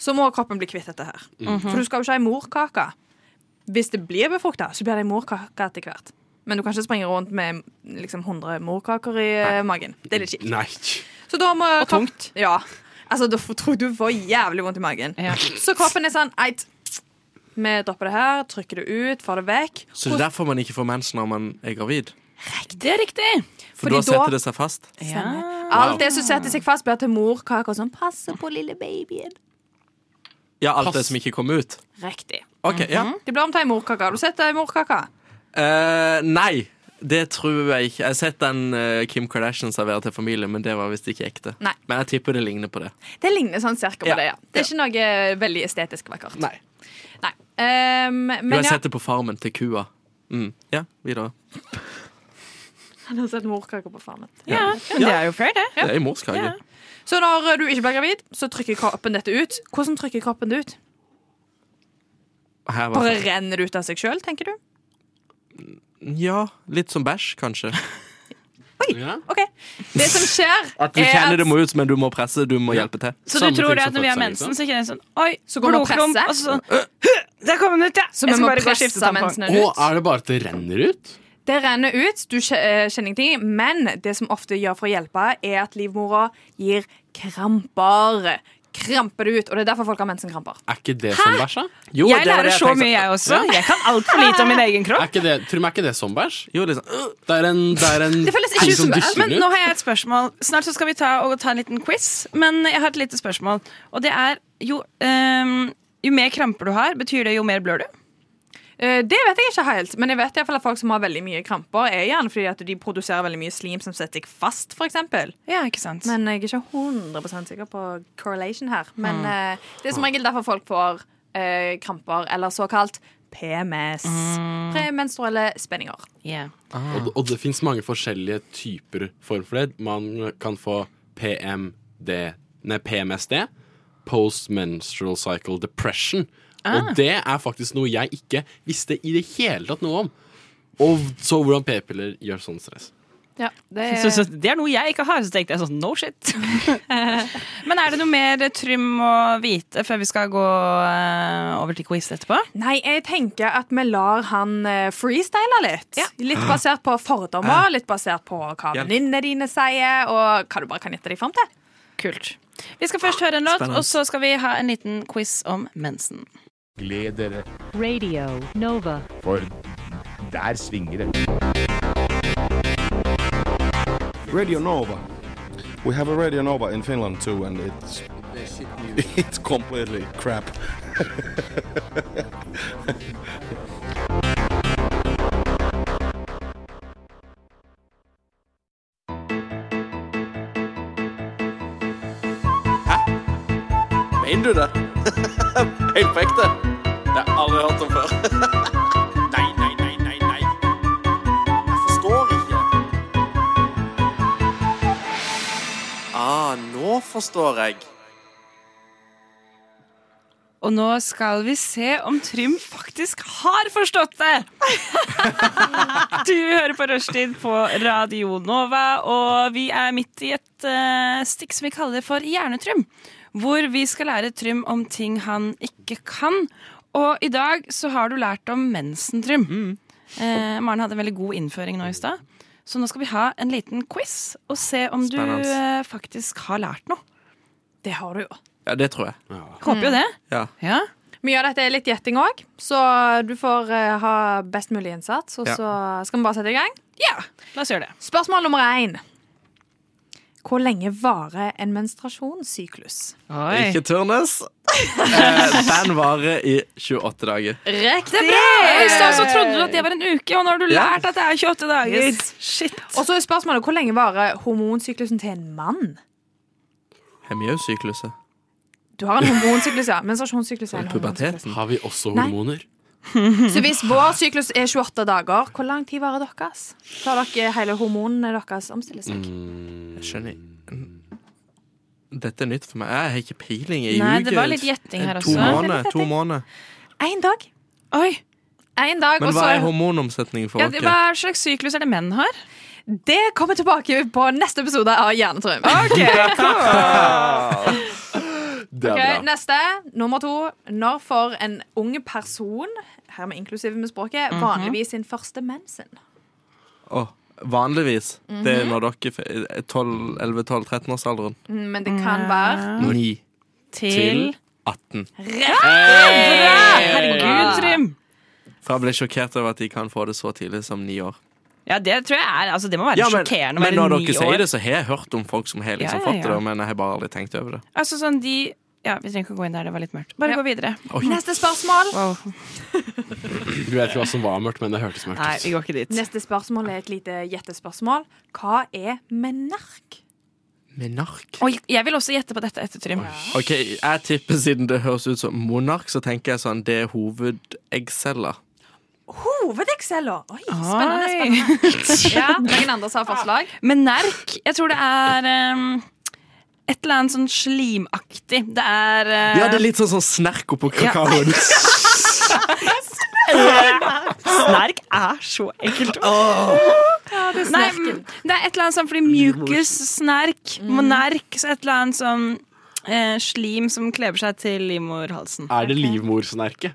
så må kroppen bli kvitt dette her.
Mhm.
For du skal jo ikke ha ei morkake. Hvis det blir befrukta, så blir det ei morkake etter hvert. Men du kan ikke springe rundt med liksom, 100 morkaker i eh, magen. Det er litt kjipt.
Nei.
Så da må
Og tungt.
Ja. Altså, da får- tror du du får jævlig vondt i magen.
Ja.
Så kroppen er sånn Eit, vi dropper det her, trykker det ut, får det vekk.
Så det er derfor man ikke får mensen når man er gravid?
Det er riktig!
For
Fordi
da setter
da-
det seg fast?
Stemmer.
Ja.
Alt det som setter seg fast, blir til morkake og sånn. Passe på lille babyen.
Ja, alt
Pass.
det som ikke kom ut?
Riktig. Mhm.
Ok, ja.
Det blir om til ei morkake. Har du sett ei morkake?
Eh, nei, det tror jeg ikke. Jeg har sett den eh, Kim Kardashian serverer til familien, men det var visst ikke ekte.
Nei.
Men jeg tipper det ligner på det.
Det ligner sånn cirka på
Ja.
det, ja. Det er ikke noe eh, veldig estetisk vakkert.
Nei.
Nei. Ehm,
Du
men
har
ja,
sett det på farmen til kua. Mm. Ja, videre.
han har sett morkake på farmen.
Ja, men det er jo fair, det.
Det er i mors kage.
Ja.
Så når eh, du ikke blir gravid, så trykker kroppen dette ut. Hvordan trykker kroppen det ut?
Her var
Bare renner det ut av seg sjøl, tenker du?
Ja, litt som bæsj, kanskje.
Ja.
OK. Det som skjer,
At du
er
kjenner det må ut, men du må presse, du må
Ja.
hjelpe til.
Så
Samme
du tror
ting
det
som liksom?
at når vi har
fødselen, ikke
mensen, så kjenner jeg sånn Oi,
Så går det å
blodklump,
presse?
og så sånn Der kom den ut, ja!
Så
Jeg
vi
skal
må
bare gå og skifte
presse
tampong.
mensen
Og
ut.
er det bare at det renner ut?
Det renner ut, du kje- eh, kjenner ingenting, men det som ofte gjør for å hjelpe, er at livmora gir kramper. Kramper det ut, og det er derfor folk har mensenkramper.
Er ikke det som bæsj, da?
Jo,
Jeg
det var
lærer
det
så
tenkte.
mye, jeg også. Jeg kan altfor lite om min egen
Er
kropp.
ikke det, tror du meg ikke det er som bæsj?
Jo, litt sånn, øh,
Det er en, det er en
føles ikke
ting
ut som bæsj,
dysler
Men nå har jeg et spørsmål. Snart så skal vi ta, og ta en liten quiz, men jeg har et lite spørsmål. Og det er jo øhm, Jo mer kramper du har, betyr det jo mer blør du?
Eh, Det vet jeg ikke helt, men jeg vet i hvert fall at folk som har veldig mye kramper, er gjerne fordi at de produserer veldig mye slim som setter seg fast, for eksempel.
Ja, ikke sant?
Men jeg er ikke 100 sikker på correlation her. Men eh, det er som regel derfor folk får eh, kramper, eller såkalt PMS. Mm. Premenstruelle spenninger.
Yeah.
Og, og det fins mange forskjellige typer form for det. Man kan få PMD, nei, PMSD, postmenstrual cycle depression. Og
Ah.
det er faktisk noe jeg ikke visste i det hele tatt noe om. Og så hvordan p-piller gjør sånn stress.
Ja, det
Så, så det er noe jeg ikke har, så tenkte jeg sånn no shit. men er det noe mer Trym å vite før vi skal gå øh, over til quiz etterpå?
Nei, jeg tenker at vi lar han eh, freestyle litt. Litt basert på fordommer, litt basert på hva
Hjelp.
venninnene dine sier, og hva du bare kan gjette deg fram til.
Kult. Vi skal først høre en låt,
Spennende.
og så skal vi ha en liten quiz om mensen.
Gled dere,
Radio Nova.
for der svinger det. Radio Nova. We have a Radio Nova in Finland too, and it's it's completely crap.
Mener du det? Helt på ekte? Det har jeg aldri hørt om før. nei, nei, nei, nei, nei. Jeg forstår ikke. Ah, nå forstår jeg.
Og nå skal vi se om Trym faktisk har forstått det! Du hører på Rushtid på Radio Nova, og vi er midt i et eh, stikk som vi kaller for Hjernetrym. Hvor vi skal lære Trym om ting han ikke kan. Og i dag så har du lært om mensen, Trym. Eh, Maren hadde en veldig god innføring nå i stad. Så nå skal vi ha en liten quiz og se om
Spennende.
du eh, faktisk har lært noe.
Det har du jo.
Ja, det tror jeg.
Jeg håper jo det.
Ja.
Ja.
Mye av dette er litt gjetting òg, så du får eh, ha best mulig innsats. Og
Ja.
så skal vi bare sette i gang.
ja, la oss gjøre det.
Spørsmål nummer én. Hvor lenge varer en menstruasjonssyklus?
Ikke turnus. Eh, Band varer i 28 dager.
Riktig!
I stad så trodde du at det var en uke, og nå har du
Ja.
lært at det er 28 dager. Shit.
Og så er spørsmålet hvor lenge varer hormonsyklusen til en mann?
Hemiosykluset.
Du har en hormonsyklus, ja. Menstruasjonssyklus er en hormonsyklus.
Puberteten.
Har vi også
Nei.
hormoner?
Så hvis vår syklus er 28 dager, hvor lang tid varer deres? Tar dere hele hormonene deres omstiller seg?
Mm. Jeg skjønner Dette er nytt for meg. Jeg har ikke peiling. Jeg
Nei,
ljuger.
det var litt gjetting her
To
også.
måneder. to måneder
Én dag.
Oi,
En dag
Men
og
hva
så-
er hormonomsetningen for
ja,
dere?
det- Hva slags syklus er det menn har?
Det kommer tilbake på neste episode av Hjernetrym.
Det er
Ok,
bra.
neste, nummer to. Når får en ung
Mhm.
person, her med inklusive med språket, vanligvis sin første mensen?
Åh, vanligvis.
Mhm.
Det er når dere er 12, 11-12-13-årsalderen.
Mm, Men det kan være
9
Til
18.
Bra! Ah, Herregud, Trym!
For jeg ble sjokkert over at de kan få det så tidlig som ni år.
Ja, det tror jeg er Altså, det må være
Ja, men,
sjokkerende å
men når
være ni
dere sier
år.
det, så har jeg hørt om folk som har liksom
Ja, ja,
fått det,
ja.
da, men jeg har bare aldri tenkt over det.
Altså sånn de Ja, vi trenger ikke å gå inn der, det var litt mørkt. Bare
Ja.
gå videre.
Neste spørsmål.
Wow.
Du vet ikke hva som var mørkt, men det hørtes mørkt
Nei,
ut.
vi går ikke dit.
Neste spørsmål er et lite gjettespørsmål. Hva er menark?
Menark?
Oi, jeg vil også gjette på dette etter Trym.
Ok, jeg tipper Siden det høres ut som monark, så tenker jeg sånn det er hovedeggceller.
Hovedeksceller! Oi,
Oi.
spennende. spennende. Ja, Noen andre som har forslag?
Men nerk, jeg tror det er ehm, et eller annet sånn slimaktig. Det er eh,
Ja, det er litt sånn, sånn snerk oppå liksom.
Ja.
kakaoen.
Snerk er så ekkelt. Nei, men det er et eller annet sånn fordi mjukis, snerk,
Mm.
monerk Så et eller annet sånn eh, slim som kleber seg til livmorhalsen.
Er det livmorsnerke?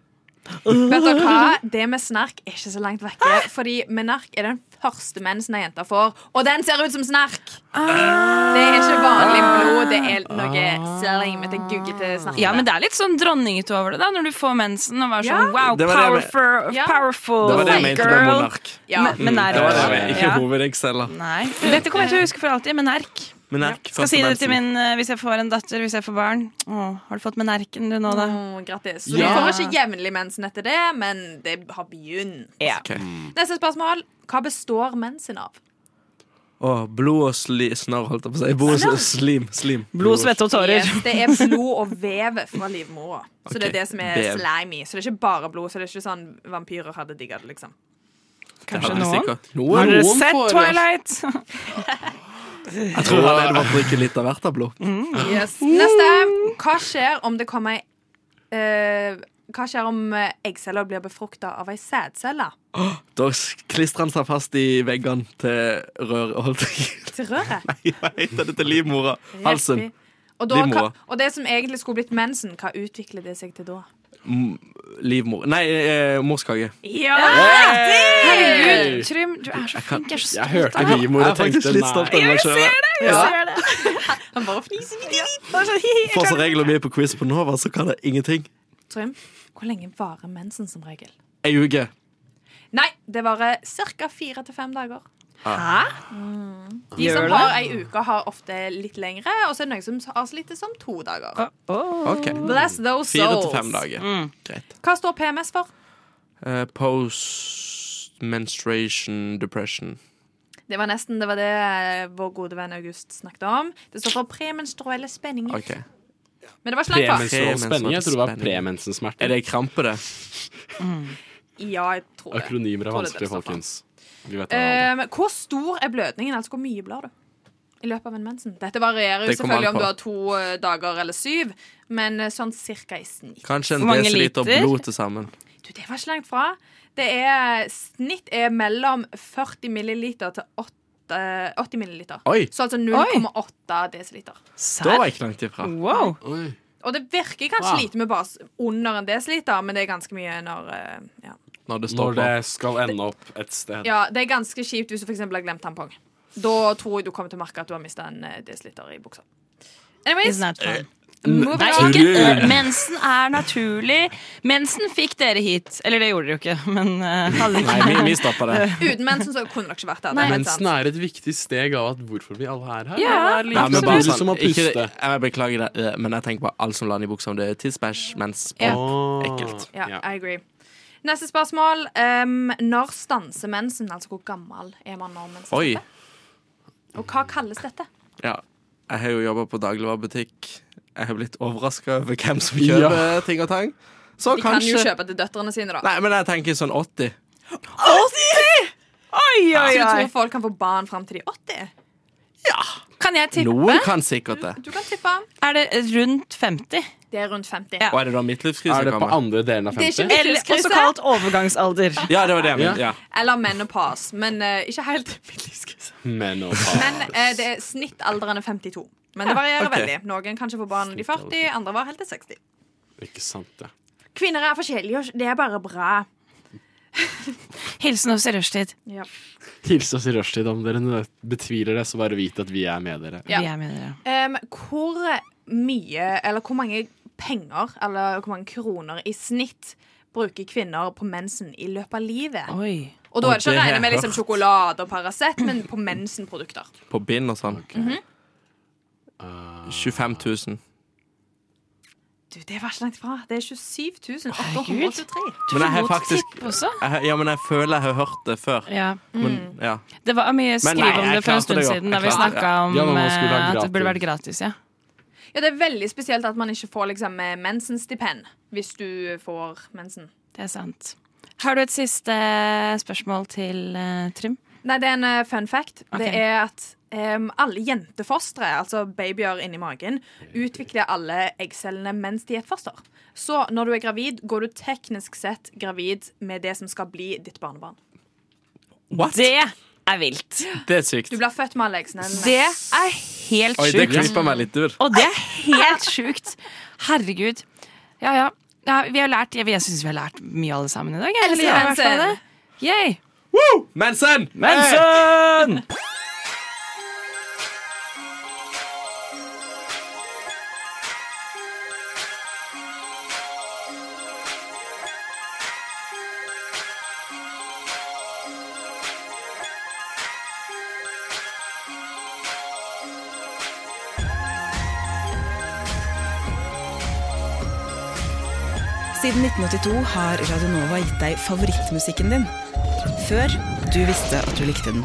Vet dere hva? Det med snerk er ikke så langt vekke.
Ah!
Fordi menark er den første mensen ei jente får, og den ser ut som snerk!
Ah!
Det er ikke vanlig blod, det er noe
Ah!
slimete, guggete snerk.
Ja, men det er litt sånn dronningete over det, da når du får mensen og er
Ja.
sånn wow,
Det var det jeg men-
powerful,
Ja.
powerful
Det var det jeg mente med
girl.
monark.
Ja.
Men- Menerk.
Det var det jeg mente, ikke
Ja.
hovedeggceller.
Nei. Dette kommer jeg til å huske for alltid. Menerk.
Menerk.
Skal
første
si det til
mensen.
min eh, hvis jeg får en datter, hvis jeg får barn. Å, har du fått menerken du nå, da?
Åh, Mm, grattis. Så
Ja.
du får ikke jevnlig mensen etter det, men det har begynt.
Ja.
Ok.
Neste spørsmål. Hva består mensen av?
Åh, blod og sli, snarr, holdt jeg på å si. Blod og slim. slim.
Blod, svette og tårer.
Yes, det er blod og vev fra livmora. Så det er
Ok,
det som er
vev.
slimy. Så det er ikke bare blod. Så det er ikke sånn vampyrer hadde digga det, liksom.
Det hadde
Kanskje
jeg
noen.
sikkert. Noen.
Har dere
Noen
sett
får-
Twilight?
Jeg tror han hadde bare drikke litt av hvert av blod.
Mm.
Yes. Neste. Hva skjer om det kommer ei eh, Hva skjer om eh, eggceller blir befrukta av ei sædcelle?
Da s- klistrer han seg fast i veggene til røret. Holdt jeg
Til røret?
Nei, hva heter det til livmora? Halsen.
Rett i. Og, da,
Livmora.
hva- og det som egentlig skulle blitt mensen, hva utvikler det seg til da?
Livmor. Nei, eh, morskage.
Herregud, Trym, du er så flink. Jeg er så
Jeg
stolt
hørte
av deg.
livmor
Jeg
og
er faktisk
tenkte
litt stolt
nei.
av meg sjøl.
Han bare fniser litt.
For som regel når vi er på quiz på Nova, så kan jeg ingenting.
Trym, hvor lenge varer mensen som regel?
Ei uke.
Nei, det varer ca. fire til fem dager.
Ah.
Mm.
Hæ?
De som har ei uke, har ofte litt lengre, og så er det noen som har så lite som to dager.
Ok.
Bless those Mm. souls.
Ah. Fire
Mm.
til fem dager. Greit.
Hva står PMS for?
Eh, post menstruation depression.
Det var nesten det var det eh, vår gode venn August snakket om. Det står for premenstruelle spenninger.
Ok.
Men det var ikke langt fra.
Premenstruelle-
Premenstrual spenning. Jeg tror det var
Spenning. Er
premensensmerter.
det krampe, det?
Ja, jeg tror det.
Akronymer er
Tror det
vanskelig,
det står for.
folkens. Vi vet det.
Um, hvor stor er blødningen? Altså hvor mye blør du? I løpet av en mensen. Dette varierer jo
Det kommer
selvfølgelig om
an på.
du har to eh, dager eller syv, men eh, sånn cirka i snitt.
Kanskje en
Hvor mange
desiliter
liter?
blod til sammen.
Du, det var ikke langt fra. Det er, snitt er mellom 40 milliliter til 8, eh, 80 milliliter.
Oi.
Så altså 0,8 desiliter.
Da var
Serr?
jeg ikke langt ifra.
Wow.
Oi.
Og det virker kanskje
Wow.
lite med bare s- under en desiliter, men det er ganske mye når eh, ja.
Når det står
Når
på.
det skal ende opp et sted.
ja, det er ganske kjipt hvis du f.eks. har glemt tampong. Da tror jeg du kommer til å merke at du har mista en eh, desiliter i buksa. Anyways, moving
Nei,
on.
ikke eh, Mensen er naturlig. Mensen fikk dere hit. Eller det gjorde dere jo ikke, men eh, hadde
Nei,
ikke.
vi, vi stoppa det.
Uten mensen så kunne dere ikke vært der. det er helt sant.
Mensen er et viktig steg av at hvorfor vi alle er her.
Ja,
det er
Nei,
like
men bare
naturlig som
sånn,
å
ikke,
puste.
jeg beklager det, eh, men jeg tenker på alt som lander i buksa, om det er tidsbæsj, mens
Ja.
Åh.
Ekkelt.
Ja, I agree. Neste spørsmål. Um, når stanser mensen? Altså, hvor gammel er man når mensen
Oi.
stopper? Og hva kalles dette?
Ja. Jeg har jo jobba på dagligvarebutikk. Jeg har blitt overraska over hvem som kjøper ting og tang. Så
De kan jo
kanskje
kjøpe til døtrene sine, da.
Nei, men jeg tenker sånn 80.
Oi, oi,
Så du
oi.
tror folk kan få barn fram til de er 80?
Kan jeg tippe?
Noen kan sikkert det.
Du kan tippe.
Er det rundt 50?
Det er rundt 50.
Ja.
Og er det da midtlivskrise
Er det på
kommer?
andre delen av
Det er ikke
50?
mitt
Eller
livskrise.
også kalt overgangsalder.
Ja, det var det jeg mente. Ja.
Eller menopause. Men eh, ikke helt mitt livskrise.
Menopause.
Men eh, det er snittalderen er 52. Men det varierer
ok.
veldig. Noen kan ikke få barn når de er 40, andre var helt til 60.
Ikke sant, det.
Kvinner er forskjellige, og det er bare bra.
Hilsen oss i rushtid.
Ja.
Hils oss i rushtid om dere nø- betviler det, så bare vit at vi er med dere.
Ja.
Vi er med dere.
Em, hvor mye, eller hvor mange penger, eller hvor mange kroner i snitt bruker kvinner på mensen i løpet av livet?
Oi.
Og da er det ikke
Og
å
det har
regne med
jeg
liksom
hørt.
sjokolade og Paracet, men på mensenprodukter.
På bind og sånn.
Mhm.
Eh,
Uh,
25 000.
Du, det var ikke langt fra. Det er 27
Herregud.
883.
Men jeg har
Mot
faktisk
tipp også?
jeg, Ja, men jeg føler jeg har hørt det før.
Ja.
Men, ja.
Det var mye
Men
skriv
nei,
om
jeg
det for en
klarte
stund
det jo.
siden, da
Jeg
vi
klarte det.
snakka om
Ja, når man skulle
eh,
ha
at det burde vært
gratis.
gratis. Ja.
Ja, det er veldig spesielt at man ikke får liksom eh, mensenstipend hvis du får mensen.
Det er sant. Har du et siste spørsmål til eh, Trym?
Nei, det er en eh, fun fact.
Ok.
Det er at em, alle jentefostre, altså babyer inni magen, utvikler alle eggcellene mens de er et foster. Så når du er gravid, går du teknisk sett gravid med det som skal bli ditt barnebarn.
What?
Det er vilt.
Det er sykt.
Du blir født med alle eggcellene. men-
Det er helt
Oi, det
sjukt.
creepa meg litt ut.
Og det er helt sjukt. Herregud. Ja, ja. ja vi har lært, jeg, jeg syns vi har lært mye alle sammen i dag. Jeg,
Elsker
liker i hvert fall
mensen.
det. Yay.
Mensen!
Mensen!
Siden 1982 har Radionova gitt deg favorittmusikken din. Før du visste at du likte den.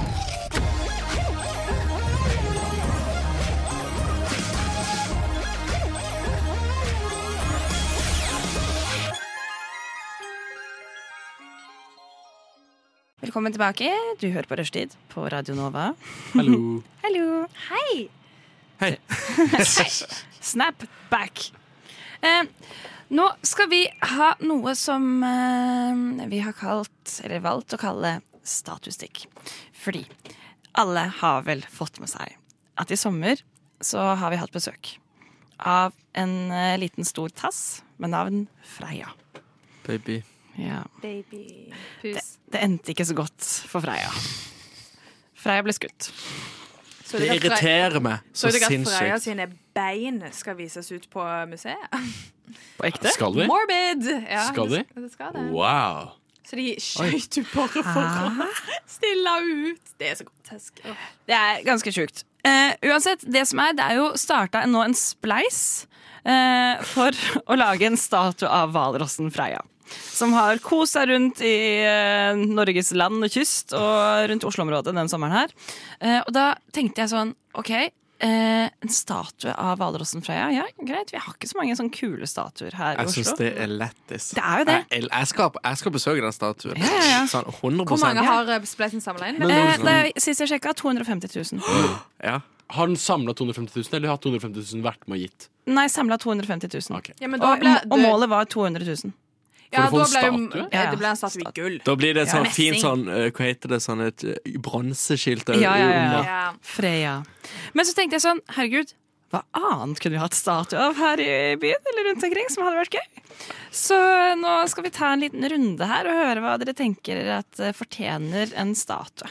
Velkommen tilbake. Du hører på Rushtid på Radio Nova.
Hallo.
Hallo. Hei.
Hei.
Snap back. Eh, nå skal vi ha noe som eh, vi har kalt, eller valgt å kalle statustikk. Fordi alle har vel fått med seg at i sommer så har vi hatt besøk av en eh, liten stor tass med navn Freya.
Baby.
Ja.
Baby. Pus.
Det endte ikke så godt for Freya. Freya ble skutt.
Så
Det
dere Fre-
irriterer meg
Så
så
dere at Freya
sinnssykt.
sine bein skal vises ut på museet?
På ekte?
Skal vi?
Morbid! Ja,
Skal de?
Det skal det.
Wow.
Så de skjøt jo bare
Ah.
for å stille ut. Det er så grotesk. Åh.
Det er ganske sjukt. Eh, uansett, det som er, det er jo starta nå en spleis eh, for å lage en statue av hvalrossen Freia. Som har kost seg rundt i eh, Norges land og kyst og rundt Oslo-området den sommeren her. Eh, og da tenkte jeg sånn, OK. eh, en statue av hvalrossen Freia? Ja, greit. Vi har ikke så mange sånne kule statuer her i
Jeg syns
Oslo.
det er lættis.
Det er jo det.
Jeg, jeg, skal, jeg skal besøke den statuen.
Ja, ja, ja.
Sånn 100
Hvor mange har eh, spleisen samla inn?
Eh, da jeg, sist jeg sjekka, 250 000.
Ja.
Har den samla 250 000, eller har 250 000 vært med og gitt?
Nei, samla 250 000.
Ok.
Ja, men da
Og,
ble,
og målet var 200 000.
ja,
For å få
da ble,
en
jo-
statue?
eh, det ble en statue i gull.
Da blir det et sånn
Ja.
fint
Messing.
sånn eh, Hva heter det? Sånn et eh, bronseskilt
Ja, ja, ja.
under.
Ja.
Freya. Men så tenkte jeg sånn, herregud, hva annet kunne vi hatt statue av her i byen eller rundt omkring som hadde vært gøy? Så eh, nå skal vi ta en liten runde her og høre hva dere tenker at eh, fortjener en statue.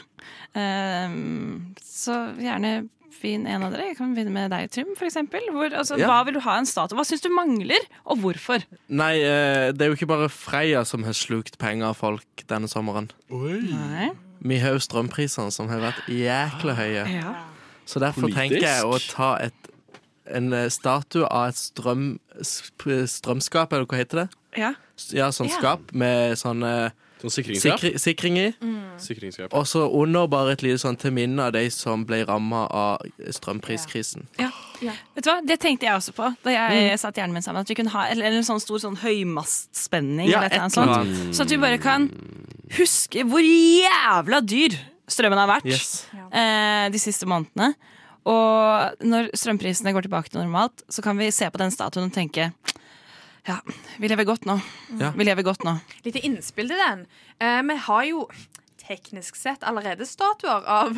Ehm, så gjerne finn en av dere. Jeg kan begynne med deg, Trym, for eksempel. Hvor, altså,
Ja.
Hva vil du ha en statue? Hva syns du mangler, og hvorfor?
Nei, eh, det er jo ikke bare Freya som har slukt penger av folk denne sommeren.
Nei.
Vi har jo strømprisene som har vært jækla høye.
Ja.
Så derfor
Politisk?
tenker jeg å ta et, en eh, statue av et strøm, sp- strømskap, eller hva heter det?
ja.
S- Ja, sånn
Ja.
skap med sånn eh,
Sånn sikringsskap?
sikri, sikring i.
Sikringsskap.
Og så under bare et lite sånn til minne av de som ble ramma av strømpriskrisen.
Vet du hva? Det tenkte jeg også på da jeg satte hjernen min sammen. At vi kunne ha eller, eller en sånn stor sånn høymastspenning.
Ja,
eller et eller annet
et eller
sånt. Så at vi bare kan huske hvor jævla dyr strømmen har vært
Yes.
eh, de siste månedene. Og når strømprisene går tilbake til normalt, så kan vi se på den statuen og tenke ja, vi lever godt nå.
Ja.
Vi lever godt nå.
Lite innspill til den. Eh, Vi har jo teknisk sett allerede statuer av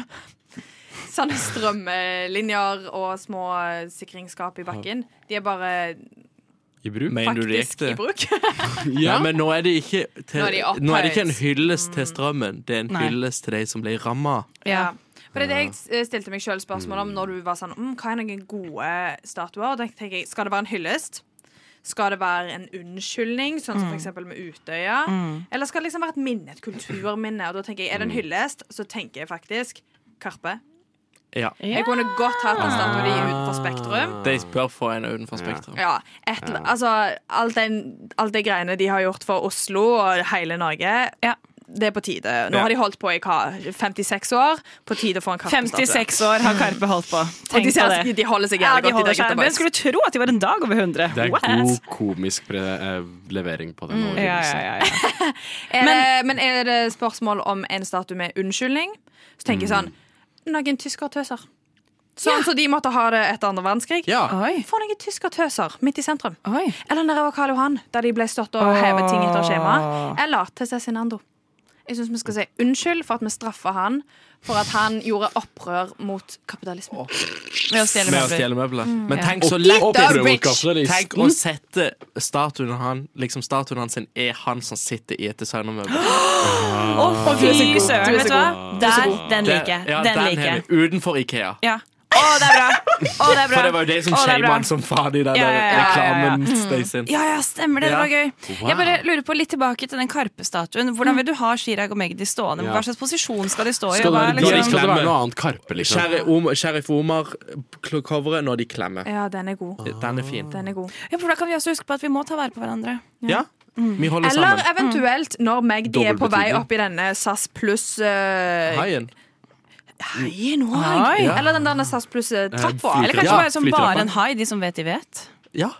sånne strømlinjer og små sikringsskap i bakken. De er bare
I bruk? Mener du
Faktisk
direkte?
i bruk.
Nei, men nå er det ikke, til,
Nå er de opphøyet.
nå er det ikke en hyllest til strømmen, det er en
Nei.
hyllest til de som ble ramma.
Ja. For det er det jeg eh, stilte meg selv spørsmål om når du var sånn mm, Hva er noen gode statuer? Da tenker jeg, Skal det være en hyllest? Skal det være en unnskyldning, sånn som
Mm.
for eksempel med Utøya?
Mm.
Eller skal det liksom være et minne, et kulturminne? Og da tenker jeg, Er det en hyllest, så tenker jeg faktisk Karpe.
Ja.
Jeg kunne godt hatt en statue av de utenfor Spektrum.
De spør for en utenfor Spektrum.
Ja, et, eller- altså alt, den, alt de greiene de har gjort for Oslo og hele Norge Det er på tide. Nå
Ja.
har de holdt på i hva, 56 år. På tide å få en karpestatue.
56 år har Karpe holdt på.
Og de,
Tenk på
ser,
det.
de holder seg
Ja,
jævlig
de
godt.
holder
der
seg.
gutta
Hvem
boys.
skulle tro at de var en dag over 100?
Det er
What?
god komisk pre eh, levering på den
Mm.
overlevelsen.
Ja, ja, Er det, men er det spørsmål om en statue med unnskyldning? Så tenker jeg sånn Noen tyskertøser. Sånn som de måtte ha det etter andre verdenskrig. Få noen tyskertøser midt i sentrum.
Ah.
Eller nede ved Karl Johan, der de ble stått og hevet ting etter skjema.
Ah.
Eller til Cezinando. Jeg syns vi skal si unnskyld for at vi straffa han for at han gjorde opprør mot kapitalismen.
Med å
Med å stjele møbler.
Mm.
Men
Ja.
tenk så
Og-
lett
og
det er,
prøve mot
bitch.
kapitalisten.
Tenk å sette statuen han Liksom statuen hans sin er han som sitter i et designermøbel.
Å, fy søren, vet du hva?
Du er så
Der,
god.
den
Det-
liker jeg.
ja,
Den
den
liker
har
jeg.
vi. Utenfor Ikea.
Ja. Å, det er bra! Å, det er bra.
For det var jo de som
Å, det er
shama
bra.
han som faen i den
Ja,
der
ja, ja, ja, ja, ja.
reklamen.
Mm.
Stacey.
Ja, ja, stemmer det. Det
Ja.
var gøy.
Wow.
Jeg bare lurer på litt tilbake til den Karpe-statuen. Hvordan vil du ha Chirag og Magdi stående?
Ja.
Hva slags posisjon skal de stå i?
Skal
Hva
det-
er
når de
liksom-
klemmer.
være noe annet Karpe, liksom?
Sheriff Omar- Sheriff Omar-coveret når de klemmer.
Ja, den er god.
Den er fin.
Den er god.
Ja, for da kan vi også huske på at vi må ta vare på hverandre.
Ja.
Mm.
Vi holder
Eller
sammen.
eventuelt når Magdi er
Dobbel
på vei
betydning.
opp i denne SAS pluss eh,
Haien.
Haien òg.
Hai. Ja.
Eller den der SAS pluss-trappa.
Eh,
Eller kanskje
Ja,
bare som
flytrappa.
bare en hai, de som vet de vet.
Ja.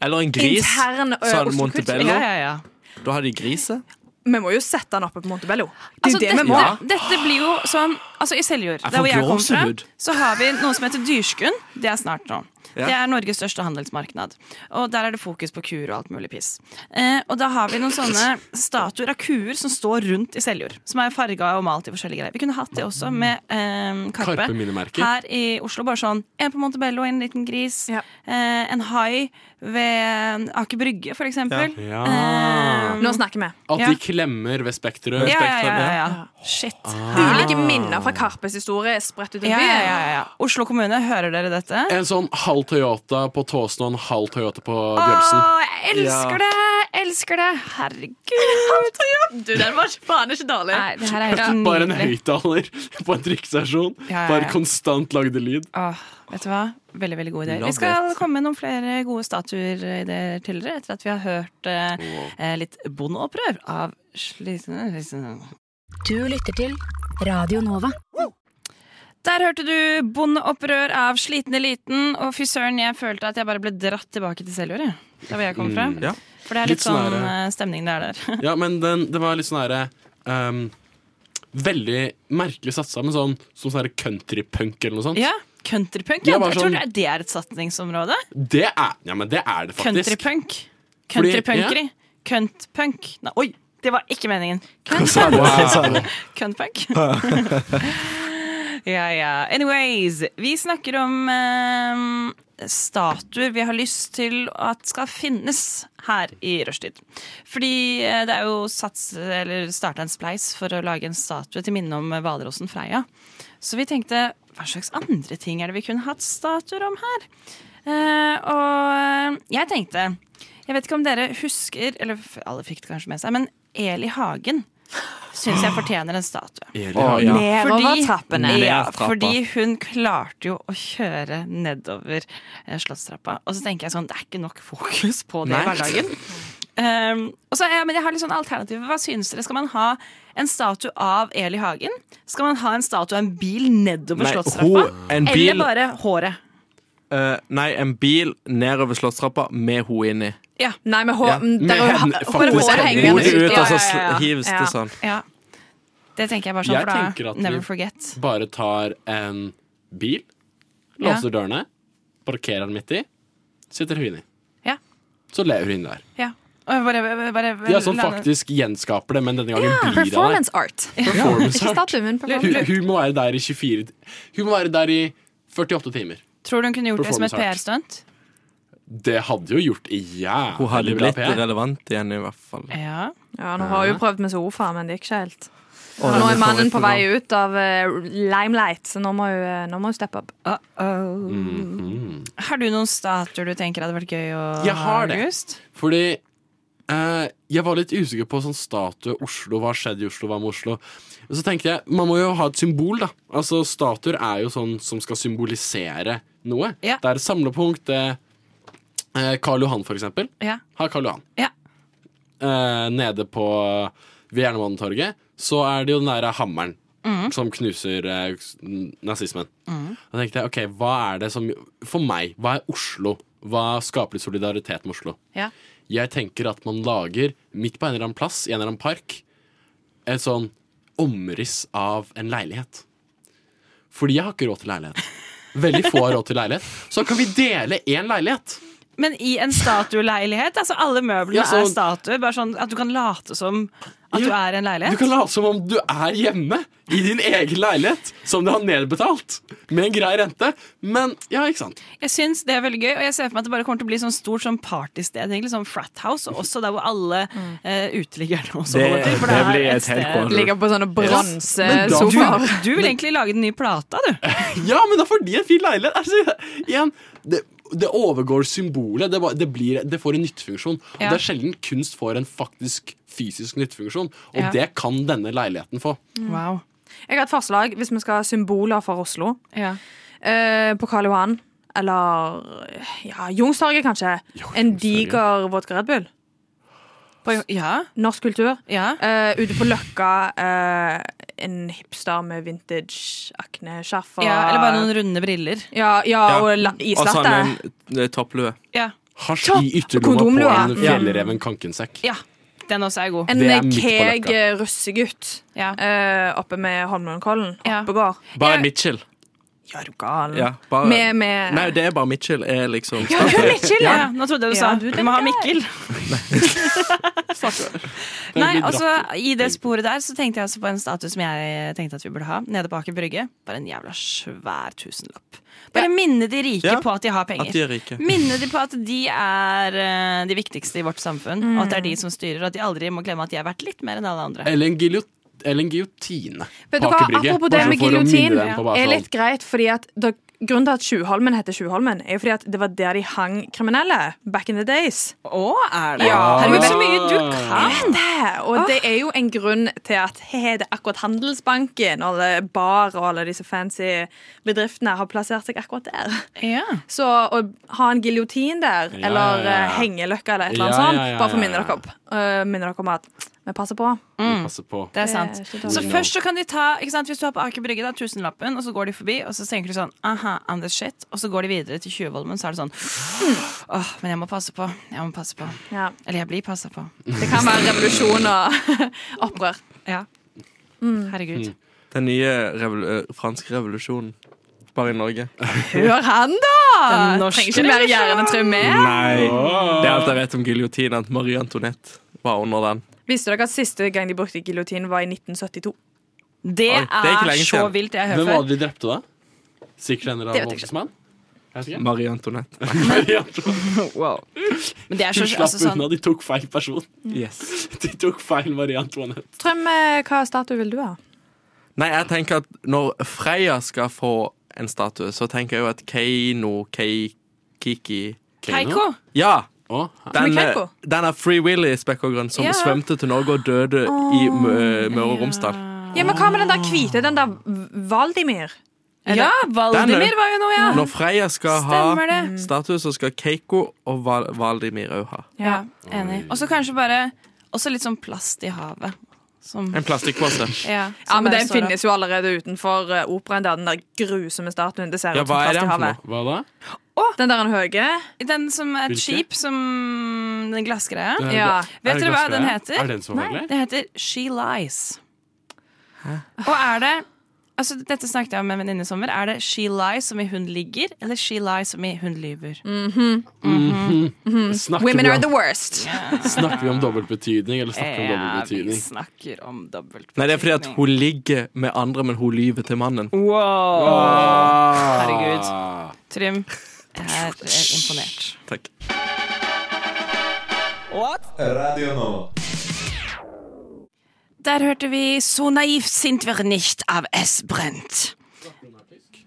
Eller en gris.
Intern, ø,
Sånn
Oslo-kultur.
Montebello.
Ja, ja, ja.
Da har de griset.
Vi må jo sette den oppe på Montebello. Det er
Altså,
jo det
dette,
vi må.
dette blir jo sånn altså I Seljord,
Jeg
der hvor
får
jeg kommer fra,
gåsehud.
så har vi noe som heter Dyrskund. Det er snart nå.
Ja.
Det er Norges største handelsmarked. Og der er det fokus på kuer og alt mulig piss. Eh, og da har vi noen sånne statuer av kuer som står rundt i Seljord. Som er farga og malt i forskjellige greier. Vi kunne hatt det også med eh, karpe.
Karpeminnemerker.
Her i Oslo. Bare sånn en på Montebello, en liten gris. Eh, en hai ved Aker Brygge, for eksempel.
Ja.
Eh,
Nå snakker vi.
At
Ja.
de klemmer ved Spektrum.
Ja, ja, ja, ja, ja. Shit.
Ah.
Ulike minner fra Karpes historie er spredt ut i
Ja,
byen.
ja, ja, ja. Oslo kommune, hører dere dette?
En sånn halv Toyota på Tåsen og en halv Toyota på
Å,
Bjølsen.
jeg elsker det! Jeg elsker det! Herregud.
Du, den var faen ikke dårlig.
Nei, det her er helt
Bare en
nydelig.
høyttaler på en drikkestasjon.
Ja, ja, ja.
Bare konstant lagde lyd.
Åh, vet du hva? Veldig veldig god idé.
Love
Vi skal komme med noen flere gode statuer i det til dere etter at vi har hørt eh, eh, litt bondeopprør av Slitne
Du lytter til Radio Nova.
Der hørte du bondeopprør av Sliten eliten, og fy søren, jeg følte at jeg bare ble dratt tilbake til Seljord, jeg. Der hvor jeg kom fra.
Mm, ja.
For det er litt,
Litt
sånn
snarere.
eh, stemning det er der.
Ja, men den, det var litt sånn herre ehm, Veldig merkelig satsa, men sånn som sånn herre countrypunk eller noe sånt.
Ja, Countrypunk?
Ja,
Ja,
bare
jeg tror
sånn-
det er- det er et satningsområde.
Det er, ja, men det er det faktisk.
Countrypunk.
Fordi-
Countrypunkeri.
ja.
Cuntpunk. Nei, oi, det var ikke meningen.
sa du? Hva sa du?
Cuntpunk. ja, ja. Anyways, vi snakker om eh, statuer vi har lyst til at skal finnes her i rushtid. Fordi eh, det er jo sats, eller starta en spleis for å lage en statue til minne om hvalrossen Freia. Så vi tenkte hva slags andre ting er det vi kunne hatt statuer om her? Eh, og jeg tenkte Jeg vet ikke om dere husker, eller f- alle fikk det kanskje med seg, men Eli Hagen syns
Ah.
jeg fortjener en statue.
Eli Hagen. Å, ja.
Fordi-
Nedover trappene.
Ja,
Nedover trappa.
fordi hun klarte jo å kjøre nedover eh, slottstrappa. Og så tenker jeg sånn, det er ikke nok fokus på det i
Nei.
hverdagen. Um, og så, ja, men jeg har litt sånn alternativer. Hva synes dere? Skal man ha en statue av Eli Hagen? Skal man ha en statue av en bil nedover
Nei,
slottstrappa?
ho- en bil-
Eller bare håret?
Eh, nei, en bil nedover Slottstrappa med henne inni.
Ja.
Nei, med
Ja.
hår
Med
der er jo-
henne,
bare
faktisk.
håret
Hodet
hengende
ut,
ut. altså,
og så sl- hives det
Ja.
sånn.
Ja. Det tenker jeg bare sånn,
Jeg
for
tenker
da
at
never
vi
forget.
bare tar en bil,
Ja.
låser dørene, parkerer den midt i, setter hun inn i.
Ja.
Så lever hun der.
Ja. Og jeg bare, bare, bare
De er sånn
la-
faktisk gjenskaper det, men denne gangen
Ja,
blir det
Ah, performance art.
Performance
Ikke
art.
statue,
Hun,
men performance.
hun må være der i 24 Hun må være der i 48 timer.
Tror du hun kunne gjort det som et
Performance art.
PR-stunt?
Det hadde jo gjort jævlig
Hun hadde
bra
blitt
PR.
relevant igjen, i hvert fall.
Ja.
Ja, nå har hun jo prøvd med sofa, men det gikk ikke helt.
Å, det
nå
blir
er mannen på
favorittprogram.
vei ut av eh, limelight, så nå må hun, eh, nå må hun steppe opp.
Har du noen statuer du tenker hadde vært gøy å
Jeg har det.
August?
Fordi eh, jeg var litt usikker på sånn statue Oslo, hva har skjedd i Oslo, hva med Oslo? Og så tenkte jeg, man må jo ha et symbol, da. Altså Statuer er jo sånn som skal symbolisere noe. Det er et samlepunkt. Eh, eh, Karl Johan, for eksempel.
Ja.
Har Karl Johan.
Ja.
Eh, nede på ved Jernbanetorget så er det jo den derre hammeren
Mhm.
som knuser eh, s- n- nazismen. Da tenkte jeg, ok, hva er det som For meg, hva er Oslo? Hva skaper litt solidaritet med Oslo?
Ja.
Jeg tenker at man lager, midt på en eller annen plass, i en eller annen park, et sånn omriss av en leilighet. Fordi jeg har ikke råd til leilighet. Veldig få har råd til leilighet. Så kan vi dele én leilighet.
Men i en statueleilighet? Altså alle møblene
Ja, så-
er statuer. Bare sånn at du kan late som at du er en
Du
leilighet.
kan late som om du er hjemme i din egen leilighet, som du har nedbetalt, med en grei rente. Men ja, ikke sant.
Jeg syns det er veldig gøy, og jeg ser for meg at det bare kommer til å bli sånn stort sånn partysted. Egentlig, sånn frat house, og også der hvor alle eh, uteliggerne også
Det-
holder til. for
det
er
blir et helt corner. Ligger
på sånne
bronse
Men da-
sofaer.
Du, du vil egentlig lage den nye plata, du.
Ja, men da får de en fin leilighet. Altså, igjen, det, det overgår symbolet. Det, bare- det, blir, det får en nyttefunksjon. Og
Ja.
Det er sjelden kunst får en faktisk fysisk nyttefunksjon, og
Ja.
det kan denne leiligheten få.
Wow.
Jeg har et forslag hvis vi skal ha symboler for Oslo.
Ja.
Eh, på Karl Johan. Eller ja, Youngstorget, kanskje. en diger vodka Red Bull. Norsk kultur. Eh, ute på Løkka. eh, en hipster med vintage akneskjerf. og-
Ja, eller bare noen runde briller.
Ja, ja, og la- islatte.
sånn en topplue.
Ja.
Hasj i ytterlomma
kondomlua.
på en
Ja.
fjellreven kankensekk.
ja. Den også er god.
En
Det er midt på
keeg
Løkka.
eh, russegutt eh, oppe med Holmenkollen. Oppegård.
Bare Mitchell.
Mm.
Ja, er du gal?
Ja, bare,
Med- med-
Nei, det er bare Mitchell. Er liksom
Ja, det er Mitchell,
Ja,
ja.
nå trodde jeg du
Ja,
sa
du
du må ha Mikkel. Nei, altså I det sporet der så tenkte jeg også på en status som jeg tenkte at vi burde ha. Nede på Aker Brygge. Bare en jævla svær tusenlapp. Bare minne de rike
Ja.
på at de har penger.
At de er rike.
Minne de på at de er eh, de viktigste i vårt samfunn,
Mm.
og at det er de som styrer. Og at de aldri må glemme at de er verdt litt mer enn alle andre.
Eller en giljot- eller en giljotine.
Vet du
på
hva,
Aker Brygge,
Apropos det
bare
med
for å minne
giljotin,
dem på bare
er
sånn,
litt greit. fordi at da, Grunnen til at Tjuvholmen heter Tjuvholmen, er jo fordi at det var der de hang kriminelle back in the days.
Å, er
Ja,
Herregud, så mye du kan!
Jeg vet det, og det er jo en grunn til at he, det er akkurat Handelsbanken og alle bar og alle disse fancy bedriftene har plassert seg akkurat der. Så å ha en giljotin der,
Ja, ja,
eller
ja.
eh, hengeløkke eller et eller annet
Ja, ja,
sånt,
ja,
bare for
ja,
å minne
ja.
dere opp. Eh, minne dere om at vi passer på.
Mm. vi passer på.
Det er sant.
Det er ikke
så
dårlig.
først så kan de ta ikke sant, Hvis du har på Aker Brygge, da, tusenlappen, og så går de forbi, og så tenker du sånn Aha, I'm the shit. Og så går de videre til Tjuvholmen, så er det sånn Åh, men jeg må passe på. Jeg må passe på. Eller jeg blir passa på.
Det kan være revolusjon og opprør.
Ja. Herregud.
Den nye revol eh, franske revolusjonen. Bare i Norge.
Hør han, da!
Ah,
Trenger ikke mer hjernetraume.
Nei. Det er alt jeg vet om giljotin, at Marie Antoinette var under den.
Mm. Visste dere at siste gang de brukte giljotin, var i 1972?
Det
Oi, det er ikke er lenge så siden. vilt, jeg har hørt
Hvem var
før.
det de drepte, da? Sikkert en eller annen
Det vet jeg ikke.
voldtektsmann? Jeg vet ikke.
Marie Antoinette.
wow. Men det er så-
Hun slapp
altså sånn-
unna, de tok feil person. De tok feil Marie Antoinette.
Trøm, eh, hva statue vil du ha?
Nei, jeg tenker at når Freya skal få en statue, så tenker jeg jo at Keino, Kei, Kiki
Keiko?
Ja.
Hvem
Den, eh,
er Keiko?
den er Free Willy spekkhoggen som
Ja.
svømte til Norge og døde i Mø- Møre og Romsdal.
Ja, men Hva med den der hvite? Den der V- Valdimir?
Ja,
Den er-
var jo noe, ja.
Når Freya skal
Stemmer
ha
Mm.
Mm.
det.
statue, så skal Keiko og Val Valdimir òg ha.
Ja, enig. Og så kanskje bare Også litt sånn plast i havet. Som
En plastikkpose.
Ja,
Ja,
som
men
bare
Den
står opp.
finnes jo allerede utenfor eh, operaen. Der, den der grusomme statuen. Det ser
Ja,
ut som
hva er
plast i
den for
havet.
noe? Hva da?
Den der en høye.
Den som er et
Hvilke?
skip, som den glassgreia.
Det er- Ja. er
Vet
det
dere hva
glassgreia?
den heter?
Er det den som var
Nei,
glad?
det heter She Lies. Og er det Altså, dette snakket jeg om med en venninne i sommer. Er det She Lies som i hun ligger, eller She Lies som i hun lyver?
Mhm. Snakker vi om-
worst.
Snakker vi om dobbeltbetydning, eller snakker vi om
Ja, vi
dobbeltbetydning?
snakker om dobbelt
Nei, det er fordi at hun ligger med
Mm.
andre, men hun lyver til mannen.
Wow!
Wow.
Herregud. Trym. Jeg er eh, imponert.
Takk.
Radio Nova.
Der hørte vi 'So naiv sind wir nicht' av S. Brent.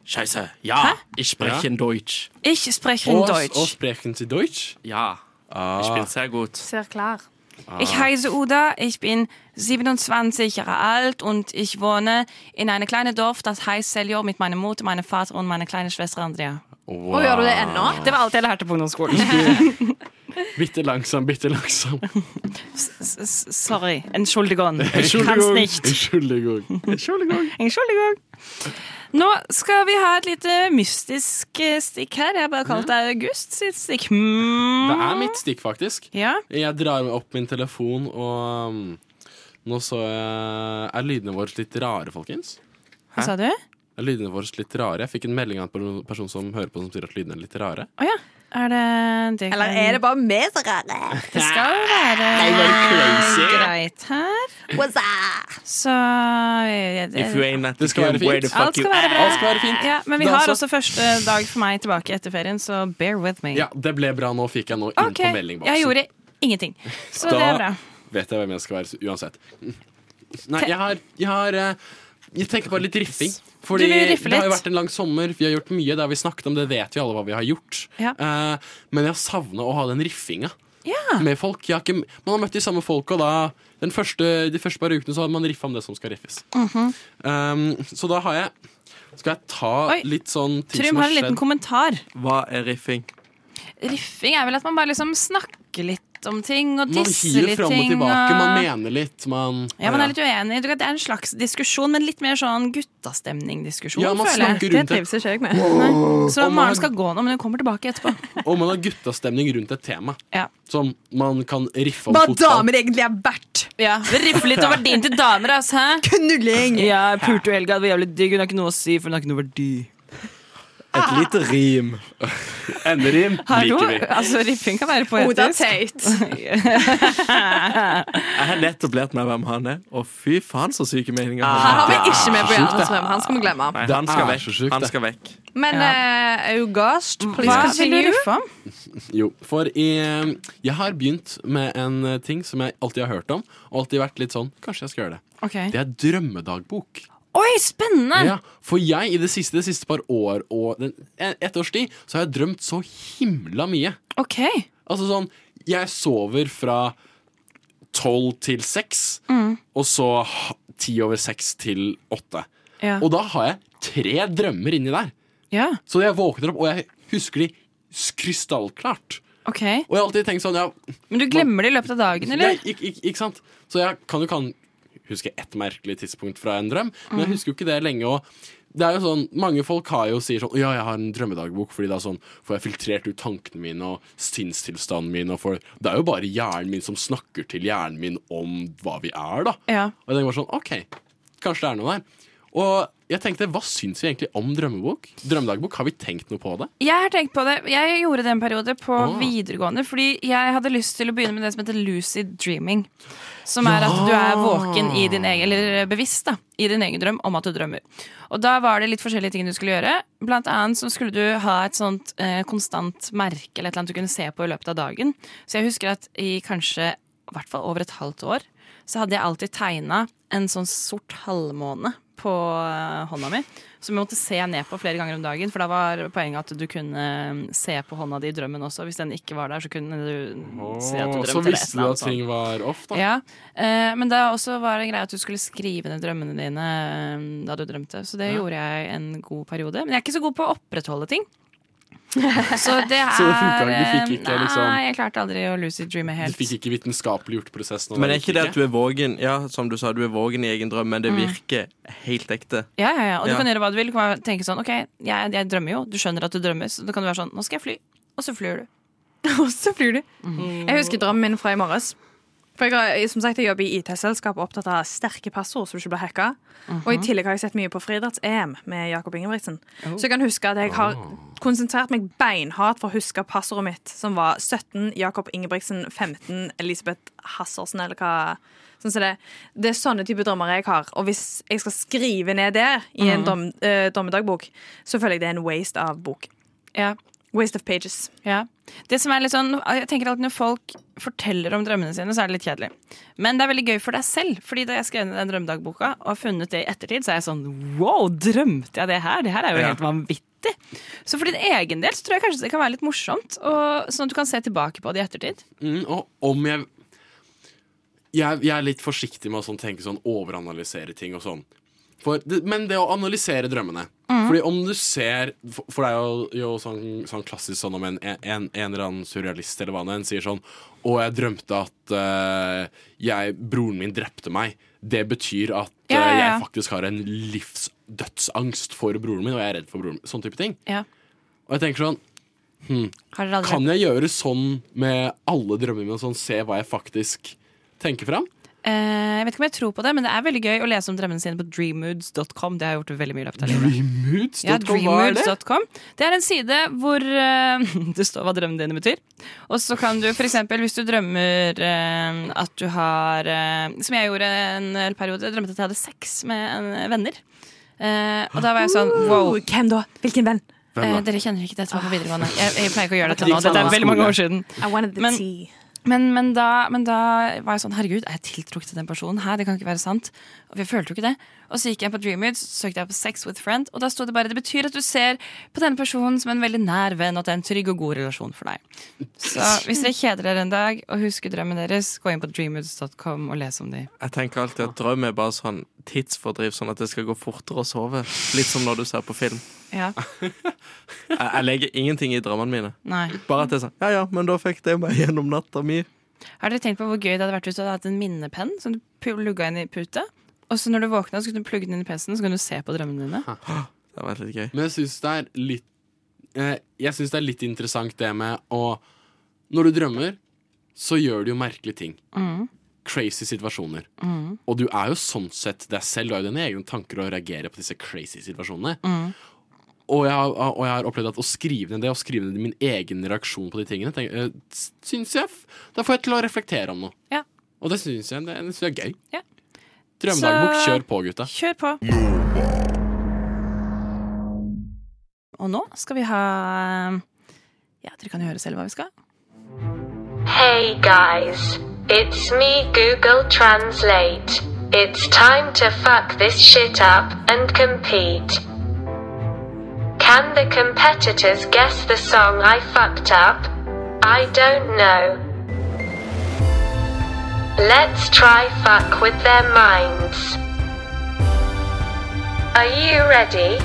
Scheiße. Ja, ich
Ja.
spreche in Deutsch.
Ich spreche in Deutsch.
sprechen Sie Deutsch?
Ja. Ich bin sehr gut.
Sehr klar.
Ah.
Ich heiße Uda, ich bin 27 Jahre alt und ich wohne in einem kleinen Dorf, das heißt Seljo, mit meiner Mutter, meinem Vater und meiner kleinen Schwester Andrea.
Wow. gjør du det
ne?
ennå?
Det var alt jeg lærte på ungdomsskolen.
Bitte langsam, bitte langsam.
S- s- Sorry. Entschuldigung. Ich kann's
Entschuldigung.
nicht.
Entschuldigung. Entschuldigung.
Entschuldigung. Nå skal vi ha et lite mystisk eh, stikk her. Jeg har bare kalt det August sitt stikk. Hmm.
Det er mitt stikk, faktisk.
Ja.
Jeg drar opp min telefon, og um, nå så jeg Er lydene våre litt rare, folkens?
Hva sa du? Å
Er lydene våre litt rare? Jeg fikk en melding av en person som hører på, som sier at lydene er litt rare.
ja. Er det, det
Eller
kan-
er det bare vi som rare?
Det skal jo være Ah,
crazy.
greit her.
What's up?
Så eh, det-
If you ain't at the
Det skal
club,
være
where the
fint.
fuck
Alt skal
you
være
at?
bra.
Alt skal være fint.
Ja, men vi
Da
har
så-
også første dag for meg tilbake etter ferien, så bear with me.
Ja, det ble bra. Nå fikk jeg nå inn
OK,
på meldingboksen.
jeg gjorde ingenting. Så
da
det er bra.
vet jeg hvem jeg skal være så- uansett. Nei, jeg har Jeg, har, eh, jeg tenker på litt riffing. Fordi
Du vil riffe
det har jo
litt.
vært en lang sommer, vi har gjort mye. Det har vi snakket om, det vet vi alle hva vi har gjort.
Ja.
Eh, men jeg har savna å ha den riffinga
Ja.
med folk. Jeg har ikke, man har møtt de samme folka, og da den første, de første par ukene så har man riffa om det som skal riffes.
Mhm.
um, så da har jeg Skal jeg ta
Oi.
litt sånn ting
Trym
som
har
har
en liten
skjedd?
kommentar.
Hva er riffing?
Riffing er vel at man bare liksom snakker litt om ting og
Man
disser
hiver
litt
fram og
ting.
tilbake, man
og-
mener litt, man
Ja, man er litt uenig. Du vet, Det er en slags diskusjon, men litt mer sånn guttastemning-diskusjon.
Ja, man
føler jeg.
snakker rundt et
Trives ikke jeg med.
Så
og man-
Maren skal gå nå, men hun kommer tilbake etterpå.
Og man har guttastemning rundt et tema
Ja.
som man kan riffe om
Hva
fotball.
damer egentlig er verdt.
Ja, Riffe litt om verdien til damer, ass. Hæ?
Knulling.
Ja, jeg pulte jo Helga, det var jævlig digg. Hun har ikke noe å si, for hun har ikke noe verdi.
Et lite rim.
Enderim
Hallo?
liker vi.
Altså, riffing kan være
Oda
poetisk.
Tate.
Jeg har nettopp lært meg hvem han er, og fy faen så syke meninger
Han
han har.
har vi ikke med på Hjernens røm. Han skal vi glemme.
Ah. Nei,
Det
han skal
er
vekk.
så sykt,
han
det.
skal vekk.
Men eh, August, please
Hva vil du
continue.
riffe om?
Jo, for eh, jeg har begynt med en eh, ting som jeg alltid har hørt om, og alltid vært litt sånn Kanskje jeg skal gjøre det.
Ok.
Det er drømmedagbok.
Oi, spennende!
Ja, for jeg i det siste, det siste par år og den, et års tid, så har jeg drømt så himla mye.
Ok.
Altså sånn Jeg sover fra tolv til seks, og så ha- ti over seks til åtte.
Ja.
Og da har jeg tre drømmer inni der.
ja.
Så jeg våkner opp, og jeg husker de s- krystallklart.
Ok.
Og jeg har alltid tenkt sånn, ja,
Men du glemmer det i løpet av dagen,
jeg,
eller?
ikke, ikke, ikke sant? Så jeg kan jo kan huske ett merkelig tidspunkt fra en drøm, men
Mm.
jeg husker jo ikke det lenge. Og det er jo sånn, Mange folk har jo sier sånn Ja, jeg har en drømmedagbok, fordi da sånn, får jeg filtrert ut tankene mine og sinnstilstanden min. Og får, det er jo bare hjernen min som snakker til hjernen min om hva vi er, da.
Ja.
Og jeg tenker bare sånn, ok, kanskje det er noe der. Og jeg tenkte, hva syns vi egentlig om drømmebok? Drømmedagbok, har vi tenkt noe på det?
Jeg har tenkt på det. Jeg gjorde det en periode på
Ah.
videregående fordi jeg hadde lyst til å begynne med det som heter lucid dreaming. Som er at du er våken i din egen, eller eh, bevisst da, i din egen drøm om at du drømmer. Og da var det litt forskjellige ting du skulle gjøre. Blant annet så skulle du ha et sånt eh, konstant merke eller et eller annet du kunne se på i løpet av dagen. Så jeg husker at i kanskje i hvert fall over et halvt år så hadde jeg alltid tegna en sånn sort halvmåne på eh, hånda mi. Som jeg måtte se ned på flere ganger om dagen. For da var poenget at du kunne eh, se på hånda di i drømmen også. Hvis den ikke var der, så kunne du si at du drømte.
så
eller et
visste du
eller annet
at ting var off, da.
ja, eh, men da også var det greia at du skulle skrive ned drømmene dine eh, da du drømte. Så det gjorde jeg en god periode. Men jeg er ikke så god på å opprettholde ting. Så det er
Så det funka ikke, du fikk ikke,
eh,
liksom-
Nei, jeg klarte aldri å lucid dreame
Du
helt.
fikk ikke vitenskapelig gjort prosessen. og
Men
det
er ikke
gikk
det at du er vågen Ja, som du sa, du er vågen i egen drøm, men det virker helt ekte.
Ja, ja, ja. Og du
Ja.
kan gjøre hva du vil. Du kan bare tenke sånn, ok, jeg, jeg drømmer jo. Du skjønner at du drømmer, så da kan du være sånn, nå skal jeg fly. Og så flyr du.
Og så flyr du. Jeg husker drømmen min fra i morges. For jeg, har- som sagt, jeg jobber i IT-selskap og er opptatt av sterke passord så du ikke blir hacka. Og i tillegg har jeg sett mye på friidretts-EM med Jakob Ingebrigtsen. Så jeg kan huske at jeg har konsentrert meg beinhardt for å huske passordet mitt, som var 17 Jakob Ingebrigtsen, 15 Elisabeth Hassersen, eller hva. Sånn som det. det er sånne type drømmer jeg har. Og hvis jeg skal skrive ned det i en dom, eh, drømmedagbok, så føler jeg det er en waste av bok.
Ja.
Waste of pages.
Ja. Det som er litt sånn, jeg tenker alltid Når folk forteller om drømmene sine, så er det litt kjedelig. Men det er veldig gøy for deg selv. Fordi da jeg skrev ned den drømmedagboka og har funnet det i ettertid, så er jeg sånn wow, drømte jeg det her? Det her er jo
Ja.
helt vanvittig. Så for din egen del så tror jeg kanskje det kan være litt morsomt. Og, sånn at du kan se tilbake på det i ettertid.
Mm, og om jeg, jeg Jeg er litt forsiktig med å sånn, tenke sånn overanalysere ting og sånn. For, det, men det å analysere drømmene
Mm.
Mhm.
Fordi om du ser For, for det er jo, jo sånn, sånn klassisk sånn om en, en, en eller annen surrealist eller hva det er, en sier sånn Å, jeg drømte at eh, jeg, broren min drepte meg. Det betyr at
Ja,
eh,
ja, ja.
jeg faktisk har en livsdødsangst for broren min, og jeg er redd for broren min. Sånn type ting.
Ja.
Og jeg tenker sånn hm,
Har dere aldri-
Kan jeg gjøre sånn med alle drømmene mine? Sånn, se hva jeg faktisk tenker fram?
Eh, jeg vet ikke om jeg tror på det, men det er veldig gøy å lese om drømmene sine på dreammoods.com. Det har jeg gjort veldig mye i løpet av livet.
Moods.com,
Ja,
hva er det?
dreammoods.com. Det er en side hvor eh, det står hva drømmene dine betyr. Og så kan du f.eks. hvis du drømmer eh, at du har eh, Som jeg gjorde en hel periode, jeg drømte at jeg hadde sex med en- venner. Eh, og da var jeg sånn wow.
Uh, Hvem da? Hvilken venn?
Hvem da? Eh, dere kjenner ikke dette var på videregående. Jeg, jeg pleier ikke å gjøre dette
Det
nå.
gikk
Dette
samme
er veldig mange år siden.
skole. I wanted the
Men-
tea.
Men, men, da, men da var jeg sånn Herregud, er jeg tiltrukket til den personen her? Det kan ikke være sant. Og jeg følte jo ikke det. Og så gikk jeg på Dreamhoods, søkte jeg på Sex with Friend, og da sto det bare Det betyr at du ser på denne personen som en veldig nær venn, og at det er en trygg og god relasjon for deg. Så hvis dere kjeder dere en dag og husker drømmen deres, gå inn på dreamhoods.com og les om de.
Jeg tenker alltid at drøm er bare sånn tidsfordriv, sånn at det skal gå fortere å sove. Litt som når du ser på film.
Ja.
Jeg, jeg legger ingenting i drømmene mine.
Nei.
Bare at det er sånn Ja ja, men da fikk det meg gjennom natta mi.
Har dere tenkt på hvor gøy det hadde vært hvis du hadde hatt en minnepenn som du plugga inn i puta? Og så når du våkna, så kunne du plugge den inn i PC-en, så kunne du se på drømmene dine.
Det hadde vært litt gøy.
Men jeg syns det er litt eh, Jeg synes det er litt interessant det med å Når du drømmer, så gjør du jo merkelige ting.
Mm.
Crazy situasjoner.
Mm.
Og du er jo sånn sett deg selv. Du har jo dine egne tanker og reagerer på disse crazy situasjonene.
Mm.
Og jeg, har- og jeg har opplevd at å skrive ned det, og skrive ned min egen reaksjon på de tingene, tenk, eh, s- syns jeg f- Da får jeg til å reflektere om noe.
Ja.
Og det syns jeg det, det synes jeg er gøy.
Ja.
Drømmedagbok,
Så-
kjør på, gutta.
Kjør på. Og nå skal vi ha Ja, dere kan jo høre selv hva vi skal.
Hey guys, it's me Google Translate. It's time to fuck this shit up and compete. Can the competitors guess the song I fucked up? I don't know. Let's try fuck with their minds. Are you ready?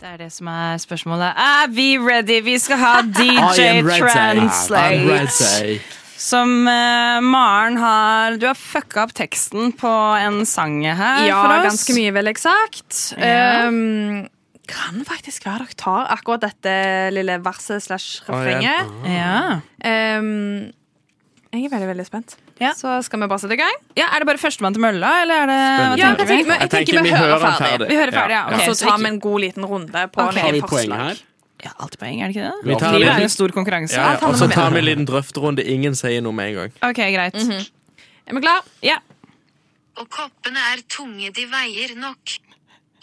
Det er det som er spørsmålet. Er vi ready? Vi skal ha
I
DJ
am ready. I'm
Translate.
ready.
Som eh, Maren har Du har fucka opp teksten på en sang her
Ja,
for oss.
ganske mye, vel eksakt.
Ja.
Um, kan faktisk være dere tar akkurat dette lille verset slash refrenget.
Å, ja.
Um, jeg er veldig, veldig spent. Så skal vi bare sette i gang.
Ja, Er det bare førstemann til mølla, eller er det
Spennende. Ja, jeg tenker- men jeg Jeg tenker tenker vi vi hører hører ferdig. ferdig.
Vi hører ferdig, ja.
Ja.
ok.
Så tar vi en god liten runde på
Ok.
en
Har vi
forslag.
poenget her?
Ja, alltid poeng, er det ikke det?
Vi tar
Livet
en-
er en stor konkurranse.
Ja, altså- ja.
Ta
Og
med
så
noe
tar vi
mer.
en liten drøfterunde. Ingen sier noe med en gang.
Ok, greit.
Er vi klar?
Ja.
og koppene er tunge de veier nok.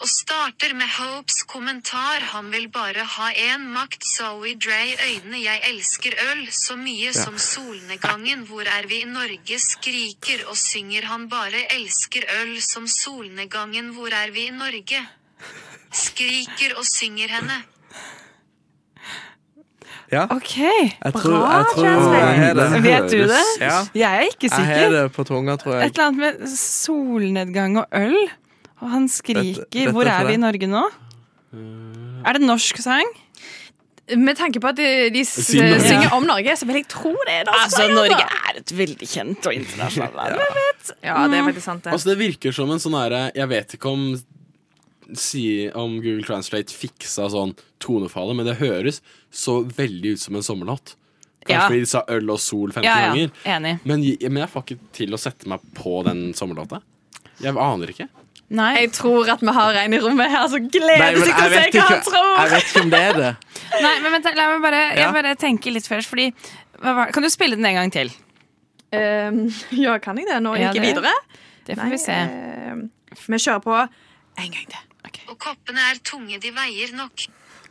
Og starter med Hopes kommentar, han vil bare ha én makt, Zoe Dre, øyne jeg elsker øl, så mye
Ja.
som solnedgangen, hvor er vi i Norge, skriker og synger han bare elsker øl som solnedgangen, hvor er vi i Norge, skriker og synger henne.
Ja.
Ok.
Jeg tror, jeg tror jeg har det.
Vet du det?
Ja.
Jeg er ikke sikker.
Jeg har det på tunga, tror jeg.
Et eller annet med solnedgang og øl. Og han skriker
Dette- dette
'Hvor
er
er
for
vi i
deg.
Norge nå?' Er det norsk sang?
Med tanke på at de, de s-
Siden Norge.
synger om Norge, så vil jeg tro det. er norsk
Altså,
sang,
er et veldig kjent og internasjonalt land.
Ja, det er veldig sant, det.
Altså Det virker som en sånn herre Jeg vet ikke om Si om Google Translate fiksa sånn tonefallet, men det høres så veldig ut som en sommerlåt. Kanskje
Ja.
fordi de sa øl og sol 15
Ja, ja,
ganger.
enig.
Men, jeg- men jeg får ikke til å sette meg på den sommerlåta. Jeg aner ikke.
Jeg tror at vi har en i rommet her som gleder
men
seg til
jeg
å se
vet
hva
ikke-
han tror.
jeg vet
ikke om det er det.
Nei, men vent, la meg bare, jeg
Ja.
bare tenke litt først, fordi hva var- Kan du spille den en gang til?
Ehm, ja, kan jeg det? Nå
Ja,
gikk jeg
det-
videre.
Det får
Nei, eh,
vi se.
ehm, vi kjører på en gang til.
Og koppene er tunge de veier nok.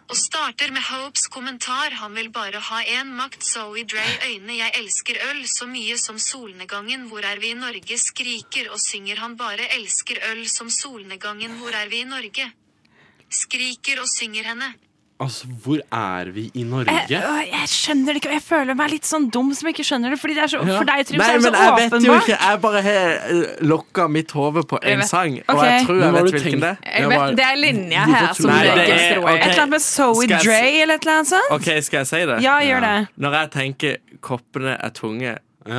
Og starter med Hopes kommentar han vil bare ha én makt Zoe Dre øyne jeg elsker øl så mye som solnedgangen hvor er vi i Norge skriker og synger han bare elsker øl som solnedgangen hvor er vi i Norge skriker og synger henne.
Altså, hvor er vi i Norge?
Jeg,
Eh,
å, jeg skjønner det ikke, og jeg føler meg litt sånn dum som ikke skjønner det. Fordi det er så,
Ja.
For deg, Trym,
Nei,
så er det
men
så
jeg vet jo
åpenbart.
ikke. Jeg bare har eh, lokka mitt hode på
Jeg
en
vet.
sang, og
Ok.
jeg tror
Men
jeg
hva har
vet
du tenkt?
hvilken det er.
Jeg vet, det er linja her som
Nei,
legges
det er-
til
Eh, ok.
Et eller annet med Zoe
Skal jeg-
Dre eller et eller annet sånt.
OK, skal jeg si det?
Ja, gjør det.
Når jeg tenker 'koppene er tunge',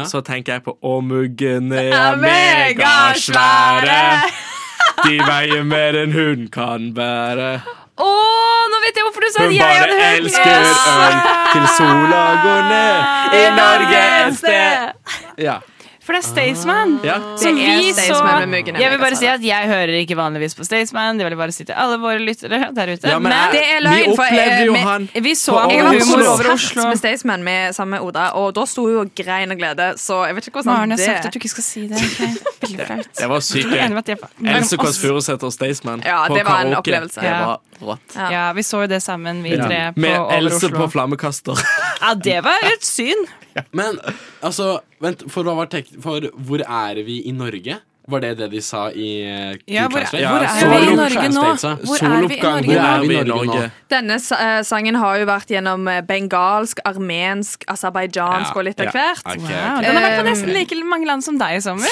så tenker jeg på 'Å, muggene
Er
er megasvære'.
megasvære.
De veier mer enn hun kan bære.
Å, nå vet jeg hvorfor du sa
Hun
at jeg
bare
hadde hørt
elsker øl til sola går ned i Norge et sted. Ja.
For det er Staysman.
Ja.
Som
Det er
vi så
Staysman med Muggen er
Jeg vil bare si
megasvære.
at jeg hører ikke vanligvis på Staysman. Det vil jeg bare si til alle våre lyttere der ute.
Ja, men jeg- Det er løgn, vi for, eh, opplevde jo vi- han
Vi så
på
han
Jeg
på
var på
Humor over
konsert
Oslo.
med Staysman med samme Oda, og da sto hun og grein av glede, så jeg vet ikke hvordan
Maren har
det
sagt at du ikke skal si det. ok? Veldig flaut.
Det var sykt.
Jeg er enig med at det var-
Else Kåss Furuseth og Staysman
Ja,
på
det var en
karaoke.
opplevelse.
Det
Ja.
var rått.
Ja. vi så jo det sammen, vi
Ja.
tre. På,
Med
over
Else på
Oslo.
flammekaster.
Ja, det var et syn.
øh.
Men altså, vent, for, hva var tek for hvor er vi i Norge? Var det det de sa i eh,
Ja, hvor-
Translate?
hvor er vi i
Solo-
Norge nå?
Translate sa.
Hvor er vi i
Soloppgang,
Norge
hvor er vi i
nå?
Norge nå?
Denne sa- eh, sangen har jo vært gjennom eh, bengalsk, armensk, aserbajdsjansk
Ja,
og litt av
ja.
hvert.
Ok, ok, Wow, den har vært på nesten like mange land som deg i sommer.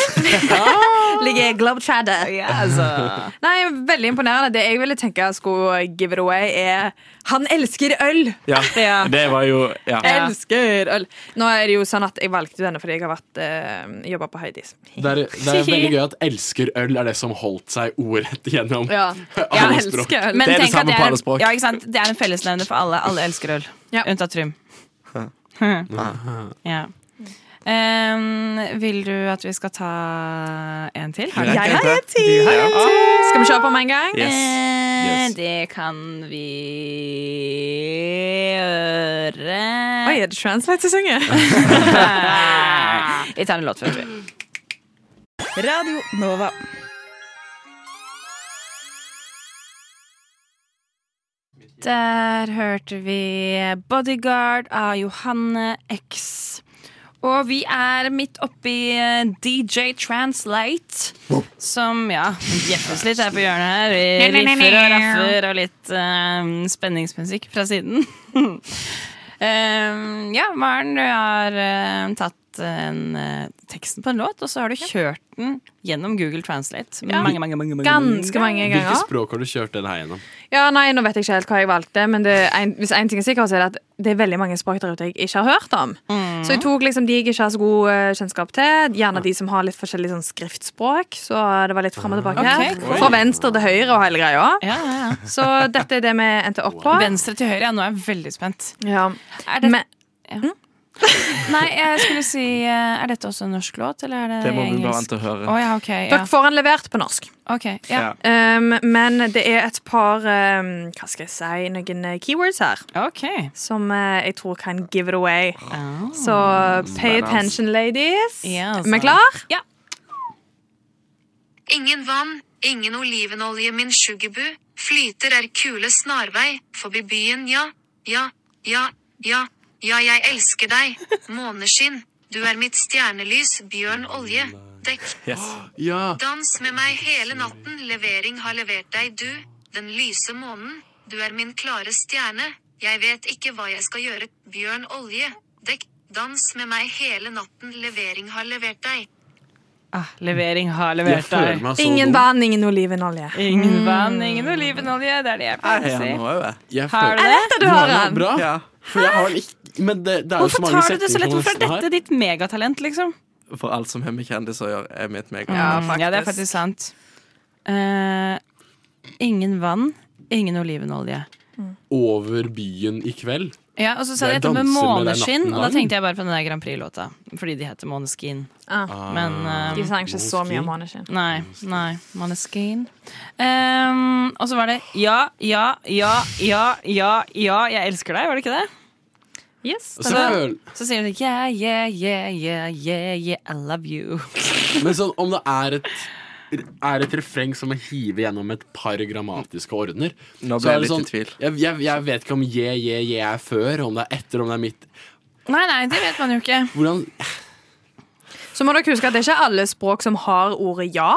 Ligger globetrotter.
altså.
Nei, veldig imponerende. Det jeg ville tenke jeg skulle give it away, er 'Han elsker øl'.
Ja, det var jo ja.
Eh,
Jeg elsker øl. Nå er det jo sånn at jeg valgte denne fordi jeg har vært eh, jobba på Heidis.
Det er, det er veldig gøy at 'elsker øl' er det som holdt seg ordrett gjennom
Ja.
alle språk.
Men tenk at det er- Ja, ikke sant? Det er en fellesnevner for alle. Alle elsker øl. Unntatt Trym. Ja. Ehm, vil du at vi skal ta en til?
Jeg
Jeg
kan
har
ta.
en til!
Du har en til. Skal vi kjøre på med en gang? Yes.
Eh,
Yes.
Det kan vi gjøre
Oi, er det translate i sangen?
Vi tar en låt først, vi.
Radio Nova.
Der hørte vi 'Bodyguard' av Johanne X. Og vi er midt oppi eh, DJ Translate, som ja bjeffes litt her på hjørnet her. Vi riffer og raffer og litt eh, spenningsmusikk fra siden. Eh, ja, Maren, du har eh, tatt en, eh, teksten på en låt, og så har du kjørt den gjennom Google Translate.
Ja.
Mange, mange, mange, mange,
Ganske mange ganger.
Hvilke språk har du kjørt den her gjennom?
Ja, nei, nå vet jeg ikke helt hva jeg valgte, men det, er en, hvis en ting er sikkert, så er det at det er veldig mange språk der ute jeg ikke har hørt om.
Mm.
Så jeg tok liksom de jeg ikke har så god eh, kjennskap til, gjerne de som har litt forskjellig sånn skriftspråk, så det var litt frem og tilbake
Ok,
her.
cool.
Fra venstre til høyre og hele greia.
ja,
Så dette er det vi endte opp på.
Venstre til høyre, ja, nå er jeg veldig spent.
Ja.
Er det...
Men-
ja. Nei, jeg skulle si eh, Er dette også en norsk låt, eller er det,
Det må vi
engelsk?
bare vente og høre.
Å, ja, ok, ja.
Dere får den levert på norsk.
Ok, ja.
Um, men det er et par um, Hva skal jeg si? Noen eh, keywords her. Som eh, jeg tror kan give it away. Så
Mm,
pay
Spennende.
attention, ladies.
Ja, altså.
Er vi klar?
Ja.
Ingen vann, ingen olivenolje, min sugarbu. Flyter er kule snarvei, forbi byen, ja, ja, ja, ja, ja, jeg elsker deg. Måneskinn, du er mitt stjernelys, bjørn olje. Dekk.
Ja.
Dans med meg hele natten, levering har levert deg, du. Den lyse månen, du er min klare stjerne. Jeg vet ikke hva jeg skal gjøre, bjørn olje. Dekk. Dans med meg hele natten, levering har levert deg.
Ah, levering har
Jeg
levert
føler
deg.
meg så Ingen dum. vann, ingen olivenolje.
Ingen
Mm.
vann, ingen olivenolje. Det er det jeg pleier å si.
Jeg
Har du
føler-
det? Jeg vet at du har den.
Ah.
Bra.
Ja.
For jeg har den ikke Men det, det er jo så
Hvorfor
mange
tar du det så
setninger
lett?
på
Hvorfor er
norsk her.
dette ditt megatalent, liksom?
For alt som har med kjendiser å gjøre, er mitt
Mm,
megatalent.
ja, det er faktisk sant. Eh, ingen vann, ingen olivenolje.
Over byen i kveld.
Ja, og så sa de
Jeg
dette med
danser med deg
måneskinn,
natten
og da
lang.
tenkte jeg bare på den der Grand Prix-låta. Fordi de heter Måneskin.
Ah.
Men
Ah.
um,
De sang ikke så mye om Måneskin.
Nei. nei, Måneskin. Um, og så var det ja, ja, ja, ja, ja, ja, jeg elsker deg, var det ikke det?
Yes.
Og så
Altså-
føl-
så sier hun yeah, yeah, yeah, yeah, yeah, yeah, I love you.
Men sånn, om det er et er et refreng som er hivet gjennom et par grammatiske ordner.
Nå ble
Så er det sånn-
jeg litt i tvil.
Jeg, jeg, jeg vet ikke om je, je, je er før, om det er etter, om det er midt.
Nei, nei, det vet man jo ikke.
Hvordan
Så må dere huske at det er ikke alle språk som har ordet ja.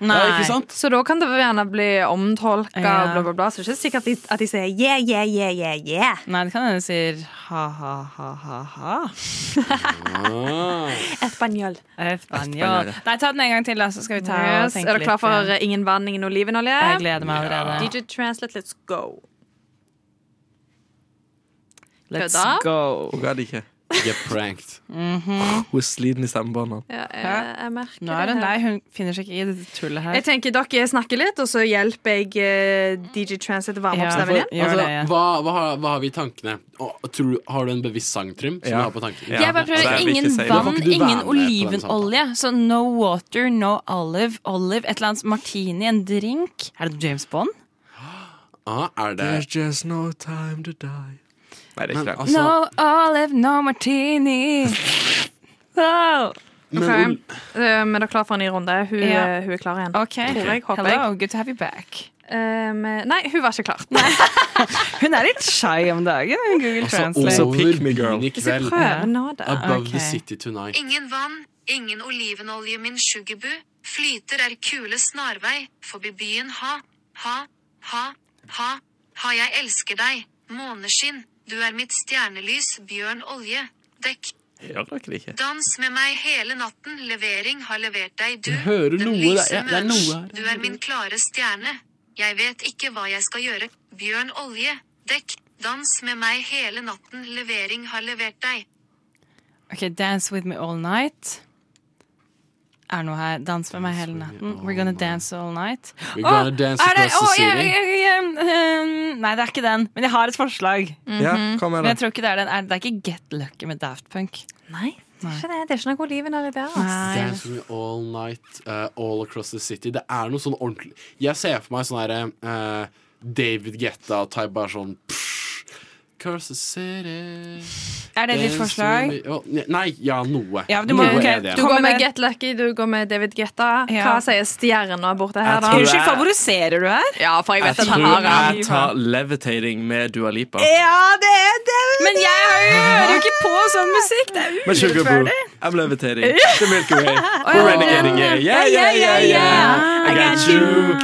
Nei. Ja, ikke sant?
Så da kan det gjerne bli omtolka,
Ja.
bla, bla, bla. Så det er ikke sikkert at de, at de sier yeah, yeah, yeah, yeah, yeah.
Nei, det kan hende de sier ha-ha-ha-ha-ha.
Espanjol.
Espanjol. Nei, ta den en gang til, da, så skal vi ta og
Yes.
tenke
Er dere klar
litt,
for
eh,
eh, ingen vann, ingen olivenolje?
Jeg gleder meg allerede.
DJ Translate, let's go.
Let's
Kødda?
go. Hun gadd ikke.
Get pranked.
Hun er sliten i stemmebåndene.
Ja, jeg,
Hæ?
jeg merker
Nå er
det
hun
her.
lei, hun finner seg ikke i dette tullet her.
Jeg tenker dere snakker litt, og så hjelper jeg eh, DJ Translate å varme opp stemmen igjen.
altså, hva, hva, har- hva har vi i tankene? Å, tror, har du en bevisst sangtrim? Som du har på tanken?
Jeg bare prøver ingen vann, ingen olivenolje. Så no water, no olive. Olive, et eller annet martini, en drink. Er det James Bond?
Ah, er det
There's just no time to die. altså- Nei, det er ikke det.
altså,
no olive, no martini. Wow.
Ok, eh, Men dere er klar for en ny runde? Hun,
Ja.
eh, hun er klar igjen.
Ok.
Tror jeg, håper jeg.
Hello, good to have you back.
Um, nei, hun var ikke klar. Nei.
Hun er litt shy om dagen, hun Google
Altså,
Translate.
over byen i
Vi skal
kveld.
prøve nå, da.
Above
Ok.
the city tonight.
Ingen vann, ingen olivenolje, min sugarbu. Flyter er kule snarvei, forbi byen ha, ha, ha, ha, ha, jeg elsker deg, måneskinn, du er mitt stjernelys, bjørn olje, dekk,
Gjør dere det ikke?
dans med meg hele natten, levering har levert deg, du,
Jeg hører
den
noe,
lyse
det er- det er
mørk.
noe her.
du er min klare stjerne, jeg vet ikke hva jeg skal gjøre, bjørn olje, dekk, dans med meg hele natten, levering har levert deg,
Ok, Dance with me all night. Er noe her. Dans med meg hele natten. We're gonna dance all night.
We're gonna
Åh,
dance
er det-
across the
åh, jeg-
city.
jeg- jeg- um, Nei, det er ikke den. Men jeg har et forslag.
Ja, hva med
Mhm. Men
det?
jeg tror ikke det er den. Er- Det er ikke Get Lucky med Daft Punk.
Nei, det er ikke det. Det altså. er ikke noe olivenolje der.
Nei.
Dance with me all night, uh, all across the city. Det er noe sånn ordentlig Jeg ser for meg sånn herre eh, David Getta type bare sånn pff, Across the city
Er det ditt
Dance
forslag?
with me- Å, ne- Nei, ja, noe.
Ja, du
noe
må- ok,
er det.
Du går med Get Lucky, du går med David Getta. Hva
Ja.
sier stjerna borte her,
Jeg
da?
tror Unnskyld, det er-
favoriserer du her?
Ja, for jeg vet
Jeg
at han har
tror jeg
det.
tar levitating med Dua Lipa.
Ja, det er det! Men jeg hører jo ikke på sånn musikk. Det er
Med Sugarboo.
urettferdig.
I'm levitating. The Milky Way. We're
ja.
renegading gay. Yeah, yeah, yeah, yeah. I got you.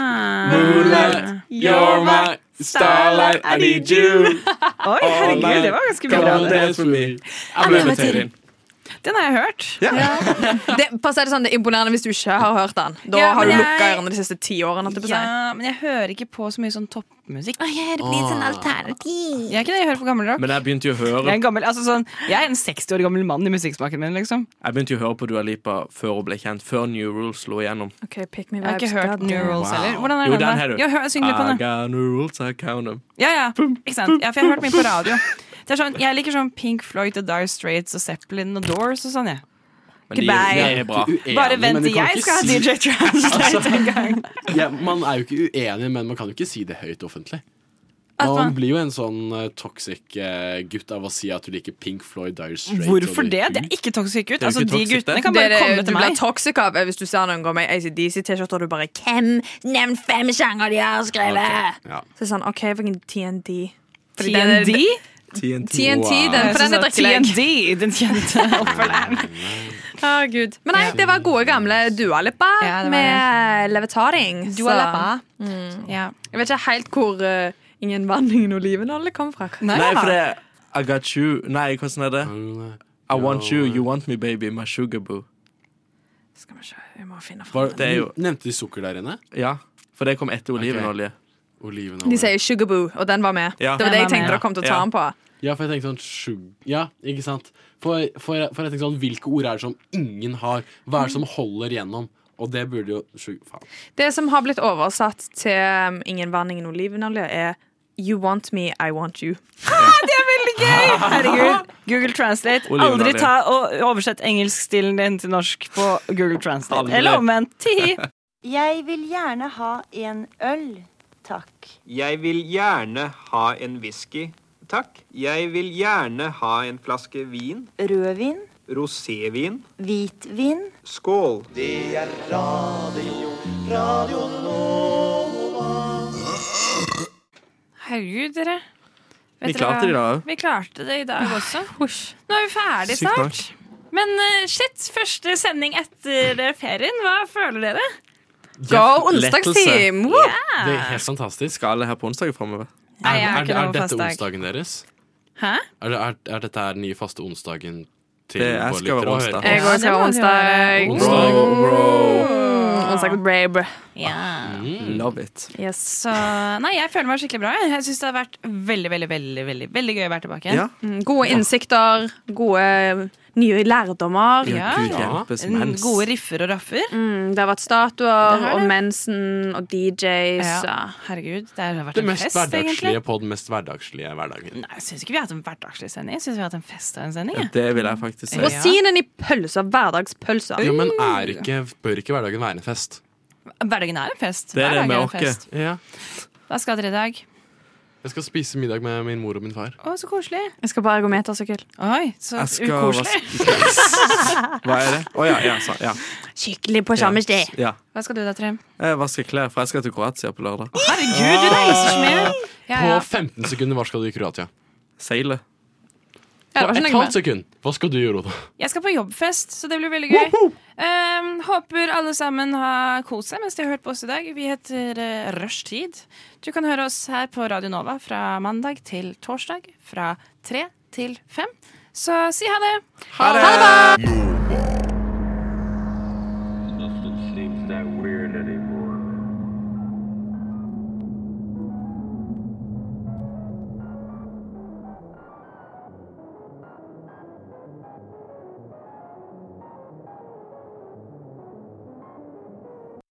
Moonlight. You're my starlight. I need you.
Oi, herregud, det var ganske
Come
bra.
on, dance with me. I'm
I'm
levitating.
levitating.
Den har jeg hørt.
Det, bare si det sånn, det er imponerende hvis du ikke har hørt den. Da
Ja,
har du
men jeg-
lukka ørene de siste ti årene. holdt jeg på å si.
Ja, men jeg hører ikke på så mye sånn toppmusikk.
det
blir sånn Ah.
alternativ. Jeg er ikke det, jeg hører på gammel rock.
Men jeg begynte jo å
Jeg er,
høre
en gammel, altså sånn, jeg er en 60 år gammel mann i musikksmaken min, liksom.
Jeg begynte jo å høre på Dua Lipa før hun ble kjent, før New Rules slo igjennom.
Ok, pick me
Jeg har ikke
vibes,
hørt
god
New
damn.
Rules heller. Hvordan er
Jo,
den? Ah, da?
den her, du.
Ja, hør, syng litt på
I
den.
got new rules, I count them.
Ja, ja. Ikke sant? ja for jeg har hørt mye på radio. Det er sånn, jeg liker sånn Pink Floyd og Dire Straits og Zeppelin og Doors og sånn, jeg.
Men de- de er bra.
Uenig,
Bare vent
men du
til
kan
jeg
ikke
skal ha
si-
DJ Translate en gang.
Altså, ja, man er jo ikke uenig, men man kan jo ikke si det høyt offentlig.
At
Man
man-
blir jo en sånn eh, toxic eh, gutt av å si at du liker Pink Floyd, Dire Straits
Hvorfor
og
det?
liker
Det er ikke toxic ut.
Det er jo
Altså,
ikke
de
toxic, det.
guttene kan bare
det er det
komme
du
til
blir
meg.
toxic av eh, hvis du ser noen gå med ACDC-T-skjorte og du bare 'Hvem? Nevn fem sjanger de har skrevet!'
Ok, ja.
Så det er sånn, OK, hvilken TND? Fordi den er-
TND?
TNT, den, for den er drittlegg.
TND, den kjente oppfølgeren.
Å, Gud. Men nei, det var gode gamle Dua Lipa
Ja, det var
med levitaring.
Dua Lipa.
Mm.
Ja.
Jeg vet ikke helt hvor eh, ingen vann, ingen olivenolje kom fra.
Nei, for det er I got you Nei, hvordan er det? I want you, you want me baby, my sugar boo.
Skal vi se, jeg må finne fram.
Var,
Det er jo-
Nevnte de sukker der inne?
Ja, for det kom etter olivenolje.
Olivenolje.
De sier Sugarboo, og den var med.
Ja.
Det var
Den
det
var
jeg
med.
tenkte dere kom til å ta
Ja.
den på.
Ja, for jeg tenkte sånn sug- Ja, ikke sant? For, for, for jeg tenkte sånn, Hvilke ord er det som ingen har? Hva er det som holder gjennom? Og det burde jo sug- Faen.
Det som har blitt oversatt til um, Ingen vann, ingen olivenolje, er You want me, I want you.
Det er veldig gøy! Herregud. Google Translate. Aldri
Olivenolje.
ta og oversett engelskstilen din til norsk på Google Translate.
Aldri.
Eller omvendt. Tihi.
Jeg vil gjerne ha en øl, takk.
Jeg vil gjerne ha en whisky. Takk. Jeg vil gjerne ha en flaske vin.
Rødvin,
Rosévin.
hvitvin.
Skål.
Det er radio Herregud, dere.
Vi klarte det i dag
hva?
også.
Vi klarte det i dag også. Nå er vi ferdig
Sykt bra.
snart. Men eh, shit, første sending etter eh, ferien. Hva føler dere? Go onsdagsteam! Woo! Ja.
Det er helt
Ah.
fantastisk.
Skal alle her på onsdag fremover?
Nei, jeg har
Er,
ikke
er
noe
dette
fast dag.
onsdagen deres?
Hæ?
Er, det- er, er dette her den nye faste onsdagen til
Det er-
våre
skal være
lyttere å
onsdag.
høre?
Jeg går til onsdag.
Bro,
Onsdag med Bray, bro.
Mm.
Love it.
Så, nei, jeg føler meg skikkelig bra. jeg. Jeg syns det har vært veldig veldig, veldig, veldig, veldig gøy å være tilbake.
Ja.
Mm, Gode innsikter, gode nye lærdommer.
Ja, Gud Ja. hjelpes mens. Gode riffer og raffer.
Mm, det har vært statuer
Det har
og
det.
mensen og DJs.
Ja,
og-
herregud, det har vært
Det
en
mest
fest, egentlig.
hverdagslige på den mest hverdagslige hverdagen.
Nei, jeg syns ikke vi har hatt en hverdagslig sending. Jeg syns vi har hatt en fest og en sending. jeg.
Det vil jeg faktisk si.
Rosinen i pølser. Hverdagspølser.
Ja, men er ikke, bør ikke hverdagen være en fest?
Hverdagen er en fest.
Det er
Hverdagen
det med
er en
åkke.
fest.
Ja.
Hva skal dere i dag?
Jeg skal spise middag med min mor og min far.
Å, så koselig.
Jeg skal på ergometersykkel.
Oi, så
Jeg skal-
ukoselig.
Hva er det? Å ja, ja, sa- ja.
Skikkelig på samme sted.
ja.
Hva skal du da, Trym?
Jeg vasker klær, for jeg skal til Kroatia på lørdag.
Herregud, du reiser så mye! Ja, ja.
På 15 sekunder, hva skal du i Kroatia?
Seile.
Ja, det var
På
ikke
et
noe
halvt sekund, hva skal du gjøre da?
Jeg skal på jobbfest, så det blir veldig gøy. Ehm, håper alle sammen har kost seg mens de har hørt på oss i dag. Vi heter uh, Rushtid. Du kan høre oss her på Radio Nova fra mandag til torsdag fra tre til fem. Så si ha det!
Ha det!